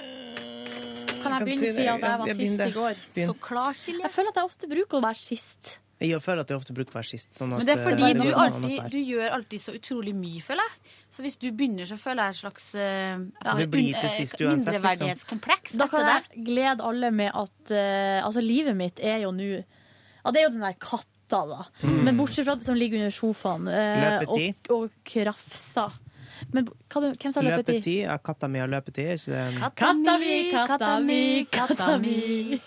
jeg
kan
begynne
si
å si
det.
at jeg var
Jeg begynner.
sist i går?
Begynn. Så
klart, Silje.
Jeg føler at jeg ofte bruker å være sist.
Jeg føler at jeg ofte bruker hver sist. Sånn at,
Men det er fordi
eh,
du,
går an å
alltid,
være.
du gjør alltid så utrolig mye, føler jeg. Så hvis du begynner, så føler jeg et slags eh, ja,
Det blir til sist
eh,
uansett, liksom.
mindreverdighetskompleks.
Da kan
dette der.
jeg glede alle med at eh, altså, livet mitt er jo nå Ja, det er jo den der katta, da.
Mm.
Men bortsett fra det som ligger under sofaen eh,
Løpetid.
og, og krafsa. Men hva, du- hvem sa løpetid?
Løpetid. Ja, katta mi har løpetid. er Ikke det en-
Katta mi, katta mi, katta mi.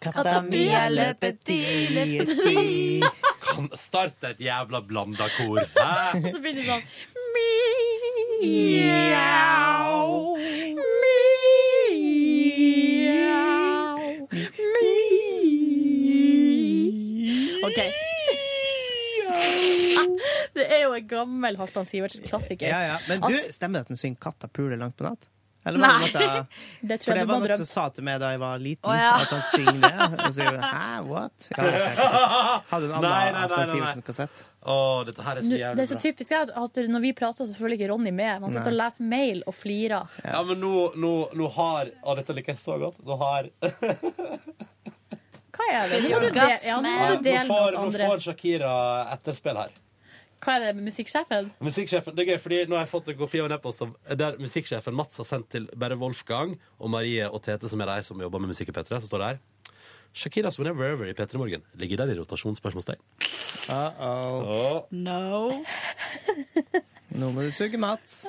Katta mi har løpetid. løpetid.
Kan starte et jævla blanda kor. Hæ?
Og så begynner det sånn Mjau. Mjau. OK. [LAUGHS] Det er jo en gammel Halvdan Sivertsen-klassiker.
Ja, ja. Men du,
Altså,
stemmer det at den synger 'Katta puler langt på natt'? Eller var
Nei.
det
[LAUGHS]
noe
det
For det
tror jeg du
var
må
noen som
drømme.
sa til meg da jeg var liten,
Å, ja.
at han synger det. Og så gjorde jeg hæ, what? Ja, det skjer ikke. Hadde en
Nei,
annen
nei, nei,
Afton
nei, nei.
Sivertsen-kassett.
Å, dette her er
Nå-
så
Det
jævlig
er så
bra.
typisk at at når vi prater, så følger ikke Ronny med. Man sitter og
Nei.
leser mail og flirer.
Ja, men nå, nå, nå har Å, dette liker jeg så godt. Nå har [LAUGHS]
Hva er det? Nå må du,
Nå
de ja, nå må du dele med
får,
oss
nå
andre.
får Shakira etterspill her.
Hva er det med musikksjefen?
Musikksjefen, det er gøy, fordi Nå har jeg fått en kopi av en e-post som- der musikksjefen Mats har sendt til bare Wolfgang og Marie og Tete, som er de som jobber med musikk i P3. Så står det her Shakiras Whenever Ever i P3 Morgen. Ligger der i rotasjon? Spørsmålstegn.
Uh-oh.
No.
Nå må du suge,
[LAUGHS]
Mats.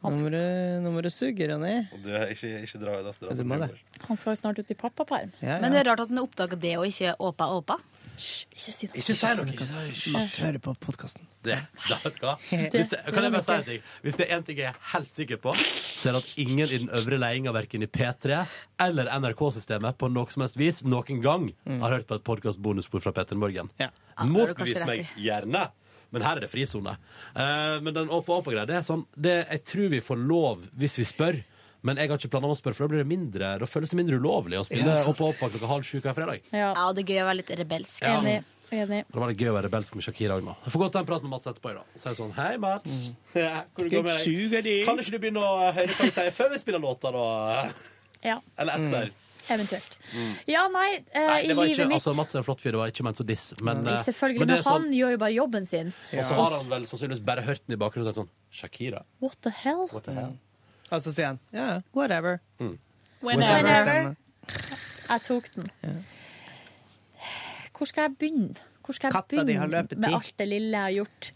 Nå må du, nå må du suge, Ronny.
Du, ikke, ikke dra i det.
Du må det.
Han skal jo snart ut i pappaperm.
Men det er rart at den oppdaga det og ikke åpa åpa.
Ikke si
Ikke si noe.
Mats hører på podkasten.
Det, da, vet du hva? Hvis [LAUGHS] det, kan jeg bare [LAUGHS] si en ting? Hvis det er én ting jeg er helt sikker på, så er det at ingen i den øvre ledelsen, verken i P3 eller NRK-systemet, på noe som helst vis noen gang har hørt på et podkast-bonusspor fra Petter Morgen. Motbevis
kanskje
meg
rett
gjerne, men her er det frisone. Eh, men den åpa-åpa-greia, det er sånn det, Jeg tror vi får lov hvis vi spør. Men jeg har ikke planer om å spørre, for da blir det mindre Da føles det mindre ulovlig å spille
Ja, sant.
åpa-åpa klokka halv sju hver fredag.
Ja.
og det er gøy å være litt rebelsk.
Ja. Enig.
Enig.
Det var litt gøy å være rebelsk med Shakira òg nå. Jeg får gå og ta en prat med Mats etterpå. i dag. Så er jeg sånn, hei Mats. [LAUGHS] Ja, hvor det går med deg? Kan ikke du begynne å høre hva jeg sier før vi spiller låta, da? [LAUGHS]
Ja,
Eller etter?
eventuelt. Ja, nei, eh,
Mm. Nei,
i
det var
livet
ikke,
mitt
altså, Mats er en flott fyr, det var ikke ment som diss. Men, eh,
Selvfølgelig,
men
men,
det er sånn,
han gjør jo bare jobben sin.
Og så har han vel sannsynligvis bare hørt den i bakgrunnen og tenkt sånn Shakira?
What the hell?
What the hell?
Og så sier han ja, ja, whatever.
Mm.
Whenever. Whenever. Jeg tok den. Hvor skal jeg begynne? Hvor skal jeg
Katta di har
begynne
løpetid.
med alt det lille jeg har gjort?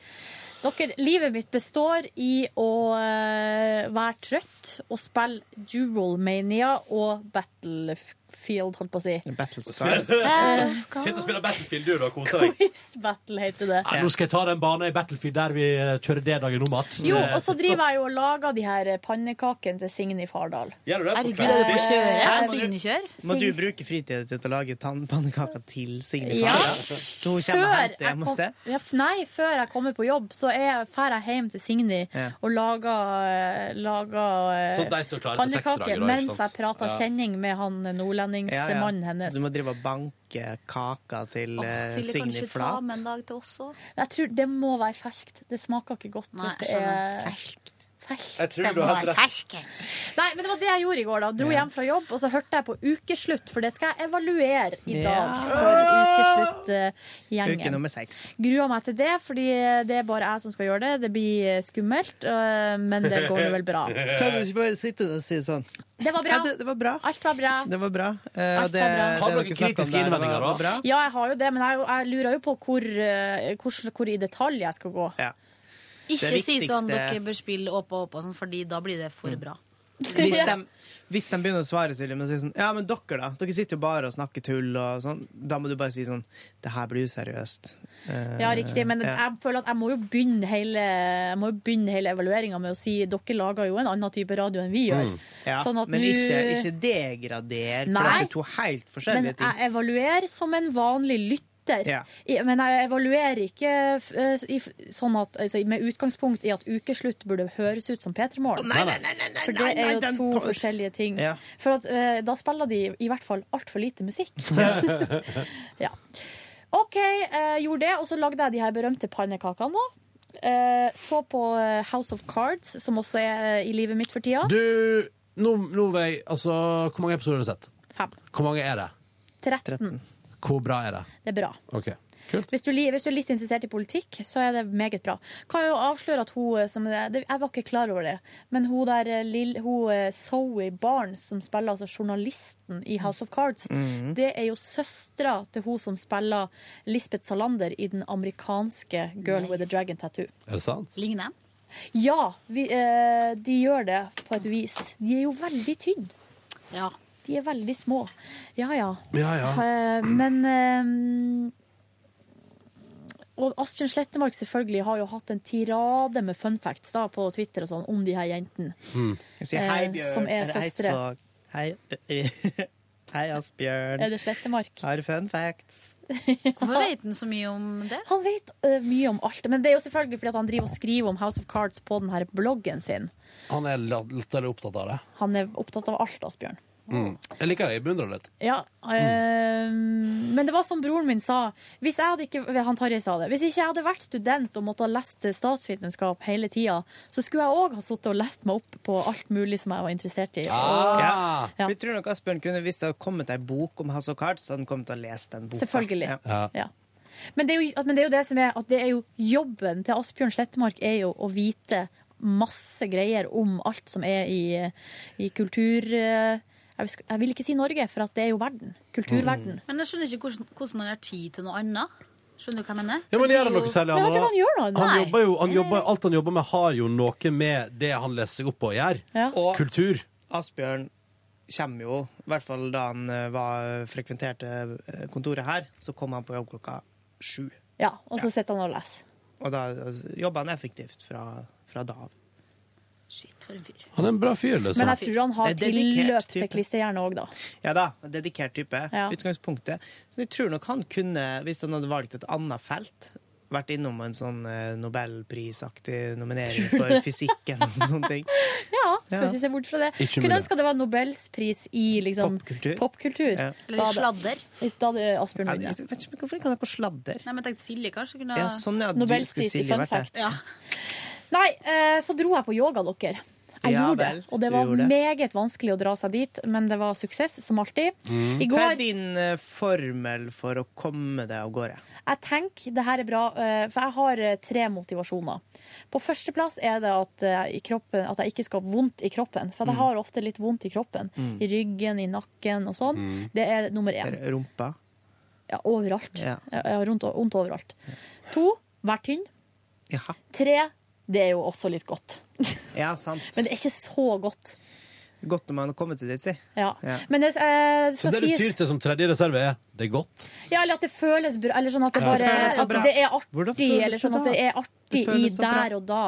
Dere, livet mitt består i å eh, være trøtt og spille Dual Mania og Battlefield Battlefield, holdt på å si.
Battlestars.
Mm.
Sitt og spiller Battlefield, du, da. Koser
[LAUGHS]
deg.
Quiz Battle heter
Ah,
det.
Nei, nå skal jeg ta den banen i Battlefield der vi eh, kjører D-dagen om igjen.
Jo,
Eh,
og så driver jeg jo og lager de her pannekakene til Signe Fardal.
Gjør du det?
Herregud,
er det på kjøret?
Eh,
Er Signe
kjør?
Må du bruke fritiden til å lage tannpannekaker til Signe?
Ja.
Fardal? Så hun kommer og henter hjemme hos deg?
ja, f- nei, før jeg kommer på jobb, så er- drar jeg hjem til Signy
Ja.
og lager, eh, lager eh,
Så de står klare til seks
pannekaker
dager, da, ikke
mens jeg
sant?
prater
Ja.
kjenning med han nordlendingsmannen hennes.
Du må drive og banke kaker til eh,
Silje,
Signe
kanskje ta
Flat.
med en dag til oss også? Jeg tror det må være ferskt. Det smaker ikke godt
Nei,
hvis det
jeg skjønner.
er ferskt.
Jeg tror Det du må hadde være rett. ferskt.
Nei, men det var det jeg gjorde i går. da Dro hjem fra jobb, og så hørte jeg på Ukeslutt, for det skal jeg evaluere i dag.
Ja.
For eh,
Uke
Ukeslutt-gjengen.
nummer seks.
Gruer meg til det, fordi det er bare jeg som skal gjøre det. Det blir skummelt, øh, men det går nå vel
[LAUGHS]
bra.
Kan du ikke bare sitte og si sånn?
Det var bra.
Ja, det, det var bra.
Alt var bra.
Det var bra. Eh,
Alt
og det,
var
det
bra. Har
dere
snakket om
kritiske
der, var- var
innvendinger da?
bra.
Ja, jeg har jo det, men jeg, jeg lurer jo på hvor, øh, hvor, hvor i detalj jeg skal gå.
Ikke si sånn dere bør spille åpa åpa sånn, fordi da blir det for bra.
[LAUGHS] Hvis de, hvis de begynner å svare, Silje, men sier sånn Ja, men dere, da? Dere sitter jo bare og snakker tull og sånn. Da må du bare si sånn Det her blir useriøst. Eh,
Ja, riktig, men
ja.
jeg føler at jeg må jo begynne hele, jeg må jo begynne hele evalueringa med å si dere lager jo en annen type radio enn vi gjør.
Mm. Ja,
Sånn at
men
nå-
ikke, ikke degrader, for
Nei.
det er to helt
Men eh,
forskjellige ting.
jeg evaluerer som en vanlig lytter.
Ja.
I- Men jeg evaluerer ikke f- eh, i, f- sånn at, altså, med utgangspunkt i at ukeslutt burde høres ut som P3 Morgen.
Nei, nei, nei, nei, nei,
For det
nei,
er jo
den
to
to-
forskjellige ting.
Ja.
For at, eh, da spiller de i hvert fall altfor
[LAUGHS]
lite musikk. Ja. OK, eh, gjorde det, og så lagde jeg de her berømte pannekakene, da. Eh, så på eh, House of Cards, som også er eh, i livet mitt for tida.
Du, nå, nå vil jeg Altså, hvor mange episoder har du sett?
Fem.
Hvor mange er det?
13.
Hvor bra er det?
Det er bra.
OK.
Hvis du, li- hvis du er litt interessert i politikk, så er det meget bra. Kan jo avsløre at hun eh, som det, det- Jeg var ikke klar over det, men hun der eh, lill- hun, eh, Zoe Barnes, som spiller altså journalisten i House of Cards,
Mhm.
det er jo søstera til hun som spiller Lisbeth Salander i den amerikanske Girl with a Dragon Tattoo.
Er det sant?
Ligner de? Ja, vi, eh, de gjør det på et vis. De er jo veldig tynne. Ja. De er veldig små. Ja, ja.
Ja, ja.
Eh, men eh, Og Asbjørn Slettemark selvfølgelig har jo hatt en tirade med fun facts da, på Twitter og sånn om de her jentene.
Jeg sier hei,
eh,
Bjørn.
som er
Eller, hei,
søstre.
Svag. Hei, B- [LAUGHS] hei, Asbjørn.
Er det Slettemark?
Har du fun facts?
Hvorfor vet han så mye om det? Han vet eh, mye om alt. Men det er jo selvfølgelig fordi at han driver og skriver om House of Cards på den her bloggen sin.
Han er litt opptatt av det.
Han er opptatt av alt, Asbjørn.
Mm. Jeg liker det. Jeg beundrer det litt.
Ja,
Mm.
eh, men det var som broren min sa. Hvis jeg hadde ikke, han Tarjei sa det. Hvis ikke jeg hadde vært student og måtte ha lest statsvitenskap hele tida, så skulle jeg òg ha sittet og lest meg opp på alt mulig som jeg var interessert i. Og-
Ah. Ja.
Ja.
For Jeg tror nok Asbjørn kunne, hvis det hadde kommet ei bok om House of Cards, så hadde han kommet til å lese den boka.
Selvfølgelig.
Ja.
Ja. Men, det er jo, men det er jo det som er at det er jo jobben til Asbjørn Slettemark er jo å vite masse greier om alt som er i, i kultur... eh, Jeg vil- jeg vil ikke si Norge, for at det er jo verden. Kulturverden.
Mm.
Men jeg skjønner ikke hvordan, hvordan han har tid til noe annet. Skjønner du hva jeg mener?
Ja, men gjør han
jo-
noe særlig?
Men jeg tror
da?
han gjør noe,
Han
nei.
jobber jo, han jobber, alt han jobber med, har jo noe med det han leser seg opp på å gjøre.
Ja.
Og-
Kultur.
Asbjørn kommer jo, i hvert fall da han eh, var, frekventerte eh, kontoret her, så kom han på jobb klokka sju.
Ja, og så sitter han og leser.
Og da altså, jobba han effektivt fra, fra da av.
Shit, for en fyr.
Han er en bra fyr, liksom.
Men jeg tror han har
En dedikert
tilløp til
type.
klisterhjerne òg, da.
Ja da, en dedikert type.
Ja.
Utgangspunktet. Så jeg tror nok han kunne, hvis han hadde valgt et annet felt, vært innom en sånn eh, nobelprisaktig
[LAUGHS]
nominering
Tror
for
du det?
fysikk eller noe sånt. ting.
Ja, skal
Ja.
ikke se bort fra det.
Ikke
Kunne
mulig.
ønske det var nobelspris i liksom,
Popkultur.
popkultur.
Ja.
Da hadde- Da hadde Asbjørn
Jeg
vunnet.
vet ikke om- hvorfor ikke han er på sladder.
Nei, men jeg tenkte Silje kanskje kunne
Ja, sånn, ja, du skulle
Nobelspris i
Silje
fun
vært der.
fact. Nei, eh, så dro jeg på yoga, dere. Jeg
Ja
gjorde
vel,
det, og det
du
var
gjorde det.
meget vanskelig å dra seg dit, men det var suksess, som alltid. I
Hva er
går
din eh, formel for å komme deg av gårde?
Jeg tenker det her er bra, eh, for jeg har eh, tre motivasjoner. På førsteplass er det at, eh, i kroppen, at jeg ikke skal ha vondt i kroppen. For jeg
Mm.
har ofte litt vondt i kroppen.
Mm.
I ryggen, i nakken og sånn.
Mm.
Det er nummer én.
Rumpa?
Ja, overalt.
Ja.
Jeg har vondt vondt overalt. To, vær tynn. Tre, det er jo også litt godt.
Ja, sant.
Men det er ikke så godt.
Godt når man har kommet seg dit, si.
Ja.
Ja.
Men det, eh,
Så
skal
det du
sies
tyr til som tredje reserve, er det er godt?
Ja, eller at det føles bra. Eller sånn at det
Ja.
bare
Føles så
at
bra.
det er
Hvordan
artig.
føles
Eller
det
sånn at
da?
det er artig
Det
i
føles så bra.
der og da.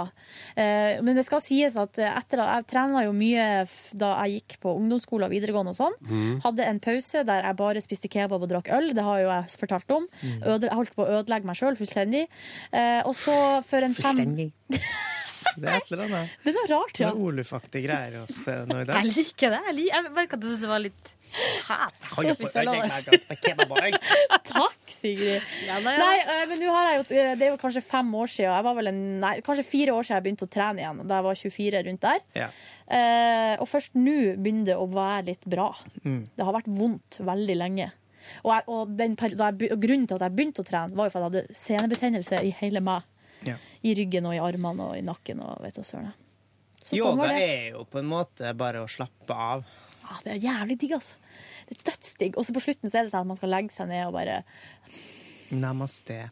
Eh, Men det skal sies at eh, etter at jeg trena jo mye f- da jeg gikk på ungdomsskole og videregående og sånn.
Mm.
Mhm.
Hadde en pause der jeg bare spiste kebab og drakk øl. Det har jo jeg fortalt om.
Mm.
Mhm.
Øde, jeg holdt på å ødelegge meg sjøl fullstendig. Eh, Og så for en fem [LAUGHS]
Fullstendig. Det er et eller annet.
Det er noe rart, ja.
Noe Oluf-aktige greier hos det nå i
Jeg
dag.
liker det. Jeg, liker. jeg merker at jeg syns det var litt hat. hvis jeg lover.
[LAUGHS] Takk, Sigrid.
ja.
Nei, eh, men nå har jeg jo, det er jo kanskje fem år siden. Jeg var vel en, nei, kanskje fire år siden jeg begynte å trene igjen. Da jeg var 24 rundt der.
Ja.
Eh, og først nå begynner det å være litt bra.
Mm.
Det har vært vondt veldig lenge. Og, jeg, og, den, peri- da jeg, be- og grunnen til at jeg begynte å trene, var jo for at jeg hadde senebetennelse i hele meg.
Ja.
I ryggen og i armene og i nakken og vet du søren. jeg. Så sånn
Yoga
var det.
er jo på en måte bare å slappe av.
Ja, det er jævlig digg, altså. Det er dødsdigg. Og så på slutten så er det sånn at man skal legge seg ned og bare
Namaste.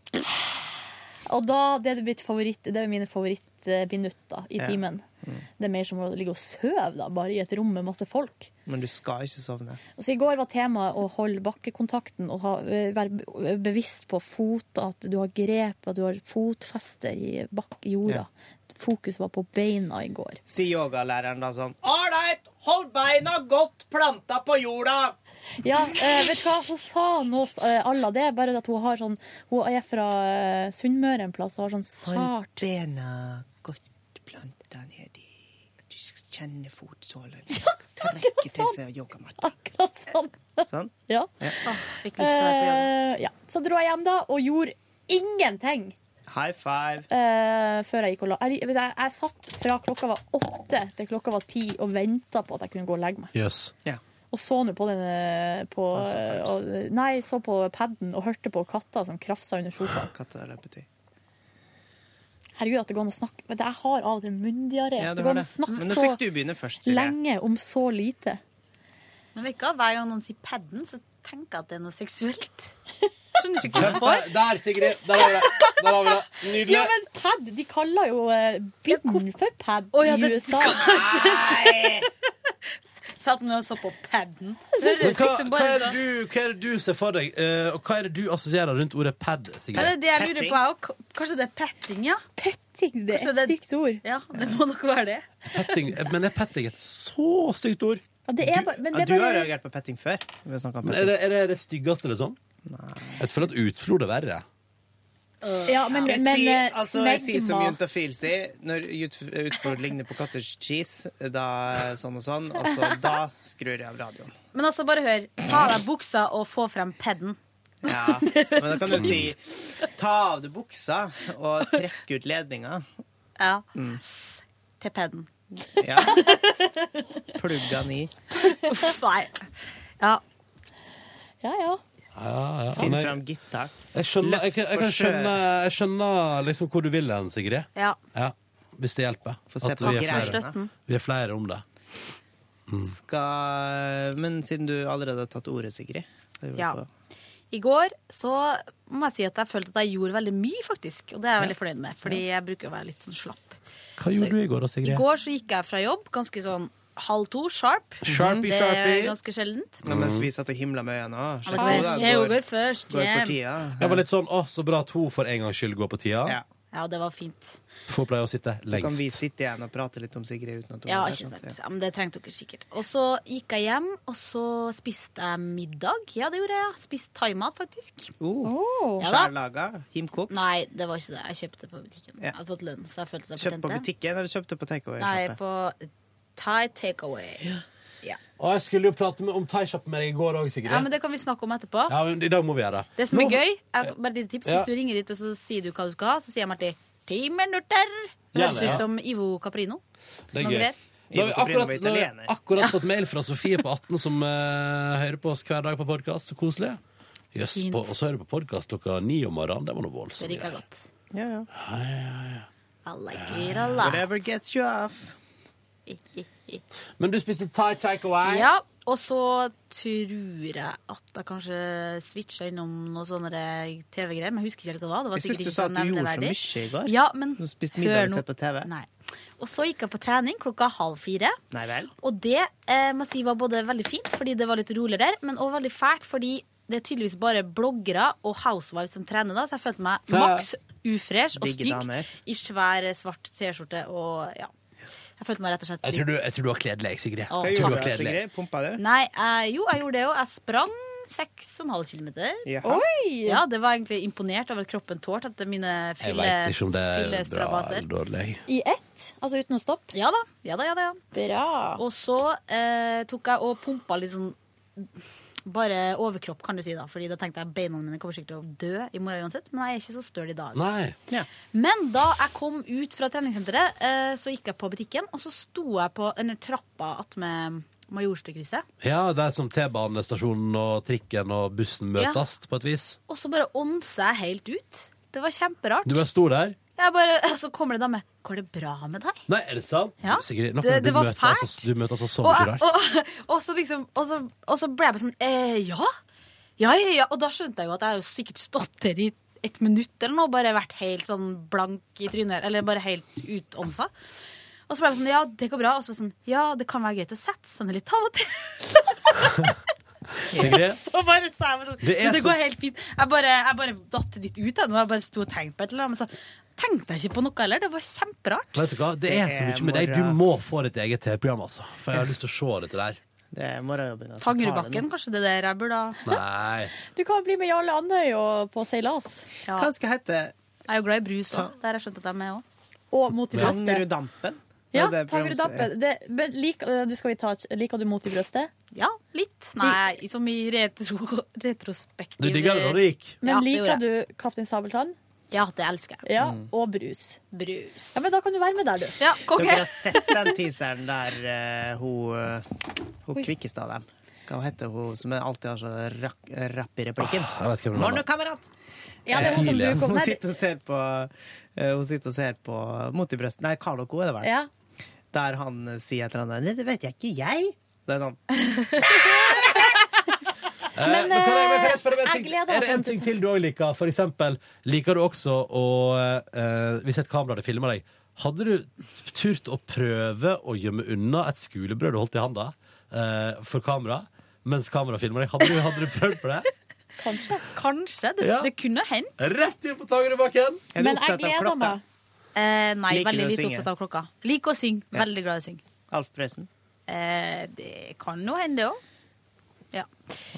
Og da, det er mitt favoritt, det er mine favorittminutter i
Ja.
timen. Det er mer som å ligge og sove, da, bare i et rom med masse folk.
Men du skal ikke sovne.
Og så I går var temaet å holde bakkekontakten og ha, være be- bevisst på fot, at du har grep, at du har fotfeste i bak jorda. Fokus var på beina i går.
Si yogalæreren da sånn.
Ålreit, hold beina godt planta på jorda!
Ja, eh, vet du hva? Hun sa noe eh, alla det, bare at hun har sånn Hun er fra eh, Sunnmøre en plass og har sånn
Hold
sart [LAUGHS]
bena godt planta ned i Du skal kjenne fotsålen. Du skal trekke til
sånn.
seg yogamatta.
Akkurat sånn.
Sånn?
Ja.
fikk
Eh, ja. Så dro jeg hjem da og gjorde ingenting
High five.
eh, før jeg gikk og la jeg, jeg, jeg satt fra klokka var åtte til klokka var ti og venta på at jeg kunne gå og legge meg.
Jøss.
Og så nå på den eh, på, og, eh, Nei, så på paden og hørte på katta som krafsa under sofaen.
Katta løper til.
Herregud, at det går an å snakke Vet du, Jeg har av og til munndiaré.
Ja, du
det
har
går an å
det. Men nå
snakke
fikk du
så
begynne først, Silje.
lenge om så lite.
Men vet du hva? hver gang noen sier padden, så tenker jeg at det er noe seksuelt. [LAUGHS] Skjønner ikke hvorfor.
Der, der, Sigrid! Der har vi det! Der har vi det. Nydelig.
Ja, men pad, de kaller jo eh, bind for pad
ja,
i
[LAUGHS]
det-
USA.
Satt med og så på padden.
Men
Høres
hva, hva,
liksom bare
er det
så-
du, hva er det du ser for deg, eh, og hva er det du assosierer rundt ordet pad,
Ja, det er
Sigrid?
det jeg lurer på, jeg òg. Kanskje det er petting, ja?
Petting, det
er et stygt
ord.
Ja, det må nok være det.
Petting, eh, men er petting et så stygt ord?
Ja, du har reagert på petting før. Vi har snakket om
Men
petting.
er det, er det det styggeste, liksom? Jeg føler at utflod er verre.
Ja, men,
jeg
men
sier,
eh,
altså, jeg sier som
smegma
juntafil sier, når ut- utflod ligner på cottage cheese, da sånn og sånn, og så da skrur jeg av radioen.
Men altså, bare hør. Ta av deg buksa og få frem padden.
Ja, men da kan du si ta av deg buksa og trekk ut ledninga.
Ja.
Mm.
Til padden.
Ja. Plugg den i.
Uff, [LAUGHS] nei. Ja.
Ja, ja.
Ja, ja.
Finn
Nei.
fram gitar.
Jeg skjønner, jeg, kan- jeg, kan
Løft på
skjønne, jeg skjønner liksom hvor du vil hen, Sigrid.
Ja.
Hvis det hjelper.
Få se
At
på
vi er, flere.
grærstøtten.
vi er flere om det.
Skal, men siden du allerede har tatt ordet, Sigrid da gjør vi
Ja.
på-
I går så må jeg si at jeg følte at jeg gjorde veldig mye, faktisk. Og det er jeg
Ja.
veldig fornøyd med, fordi jeg bruker å være litt sånn slapp.
Hva gjorde
Så-
du i går da, Sigrid?
I går så gikk jeg fra jobb ganske sånn halv to, sharp.
Mhm. Sharpie,
det
sharpie.
er ganske sjeldent.
Ja, mens vi satt og himla med øynene.
Ja, men jeg går først hjem.
Jeg var litt sånn å, så bra at hun for en gangs skyld går på tida.
Ja, det var fint.
For hun pleier å sitte
Så kan
lengst.
vi sitte igjen og prate litt om Sigrid uten at hun
Ja,
er der,
ikke
sant?
sant. Ja, men det trengte dere sikkert. Og så gikk jeg hjem, og så spiste jeg middag. Ja, det gjorde jeg. ja. Spiste thaimat, faktisk.
Oh.
Ja da.
Skjærlaga? Himkok?
Nei, det var ikke det. Jeg kjøpte det på butikken.
Ja.
Jeg hadde fått lønn, så jeg følte det
Kjøpt på butikken, eller kjøpte på takeaway?
Nei, på Thai takeaway. Ja.
Å, jeg skulle jo prate med, om thaishoppen med deg i går òg, Sigrid.
ja, men det kan vi snakke om etterpå.
Ja, men I dag må vi gjøre det.
Det som er
Nå-
gøy, er bare et lite tips.
Ja.
Hvis du ringer dit og så sier du hva du skal ha, så sier jeg Marti ti minutter. Det
Ja,
høres
det, ja.
ut som Ivo Caprino.
Det er
Noen
gøy.
greier.
Nå har vi
Ivo Caprino var
akkurat, nå har vi
italiener.
akkurat fått mail fra Sofie på 18 som eh, hører på oss hver dag på podkast. Så koselig. Jøss,
Fint.
på- og så hører du på podkast klokka ni om morgenen. Det var noe voldsomt.
Det liker jeg godt.
Ja, ja.
I like it a lot.
Whatever gets you off.
[LAUGHS]
Men du spiste Thai takeaway?
Ja, og så tror jeg at jeg kanskje switcha innom noen sånne TV-greier, men jeg husker ikke helt hva det var. Det var
Jeg syns
sikkert
du
ikke
sa
så
at du gjorde så
nevneverdig.
mye i går.
Ja, men
Du spiste
hør
middag og
nå.
sett på TV.
Nei. Og så gikk jeg på trening klokka halv fire.
Nei vel.
Og det eh, må jeg si var både veldig fint, fordi det var litt roligere, men også veldig fælt, fordi det er tydeligvis bare bloggere og housewives som trener da, så jeg følte meg maks ufresh og
Digge damer.
stygg i svær eh, svart T-skjorte og ja. Jeg følte meg rett og slett
Jeg tror du, jeg tror du har kledd deg, Sigrid.
Hva
Jeg tror du
gjorde
har
du,
kledd deg.
Pumpa det?
Nei, eh, jo, jeg gjorde det jo. Jeg sprang 6,5 km.
Jaha.
Oi!
Ja, det var egentlig imponert over at kroppen tålte etter mine
Jeg veit ikke om det er
fylle
bra
strabaser.
eller dårlig.
I ett? Altså uten å stoppe? Ja da. ja da, ja da, Bra. Og så eh, tok jeg og pumpa litt sånn bare overkropp, kan du si, da. Fordi da tenkte jeg beina mine kommer sikkert til å dø i morgen uansett. Men jeg er ikke så støl i dag.
Nei.
Men da jeg kom ut fra treningssenteret, eh, så gikk jeg på butikken, og så sto jeg på denne trappa attmed Majorstukrysset.
Ja, det er som T-banestasjonen og trikken og bussen
Ja.
møtes, på et vis.
Og så bare ånsa jeg helt ut. Det var kjemperart.
Du bare sto der.
Jeg bare, og så kommer det en dame. Går det bra med deg?
Nei, er det sant?
Ja.
Sigrid, nå
Det-
kan du
det var
møte,
fælt.
Altså, du møter altså så
Og,
mye
jeg-
rart.
og, og, så liksom, og, så, og så ble jeg bare sånn eh, ja. ja, ja, ja. Og da skjønte jeg jo at jeg har jo sikkert stått der i et minutt eller noe, bare vært helt sånn blank i trynet, eller bare helt utånsa. Og så ble jeg sånn, ja, det går bra. Og så ble jeg sånn, ja, det kan være greit å sette seg ned litt av og til. [LAUGHS]
Sigrid?
Så bare sa jeg meg sånn,
Det
det,
er
det
så-
går helt fint. Jeg bare, jeg bare datt litt ut av det, og jeg bare sto og tenkte på et eller annet, men så tenkte jeg ikke på noe heller. Det var kjemperart.
Vet du hva, det er så mye med deg. Du må få ditt eget TV-program, altså. For jeg har lyst til å se dette der.
Det er morgenjobben. altså.
Tangerudbakken, kanskje det der jeg burde ha.
Nei.
Du kan bli med Jarle Andøy og på seilas.
Hva skal jeg hete?
Jeg er jo glad i brus òg. Der har jeg skjønt at jeg er med òg.
Og mot i brøstet.
Tangeruddampen?
Ja,
Det er det programmet-
Tangerudampen. Det- men lik- øh, du skal vi ta et- Liker du mot i brøstet?
Ja, litt. Nei, som i retro, retrospektiv
Du digga det når det gikk.
Men
Ja, det
liker
gjorde
du Kaptein Sabeltann?
Ja, det elsker jeg.
Ja,
Mm.
Og brus.
Brus.
Ja, men da kan du være med der, du.
Ja,
Dere har sett den teaseren der eh, hun, eh, hun kvikkeste av dem. Hva heter hun som alltid har så rak, rapp i replikken?
Jeg vet hvem det
Morn,
var.
kamerat!
Ja, det er hun som du kom-
Ah, hun
Nei, det-
sitter og ser på eh, Hun sitter og ser på Mot i brøstet. Nei, Carlo Co er det vel?
Ja.
Der han eh, sier et eller annet Nei, det vet jeg ikke, jeg. Det er sånn.
Eh,
Men,
men kan jeg, men kan jeg spørre om en
eh,
ting?
jeg gleder meg
Er det en
til
ting til du òg liker? For eksempel, liker du også å eh, Hvis et kamera hadde filma deg, hadde du turt å prøve å gjemme unna et skulebrød du holdt i handa eh, for kamera, mens kameraet filma deg? Hadde du, hadde du prøvd på det?
Kanskje. Kanskje. Det,
Ja.
det kunne hendt.
[LAUGHS] Rett inn på Tangerudbakken!
Men jeg gleder meg. Eh, nei,
Liker du
veldig
å
lite
synge?
opptatt av klokka. Liker å synge.
Ja.
Veldig glad i å synge.
Alf Prøysen.
Eh, det kan jo hende, det òg. Ja.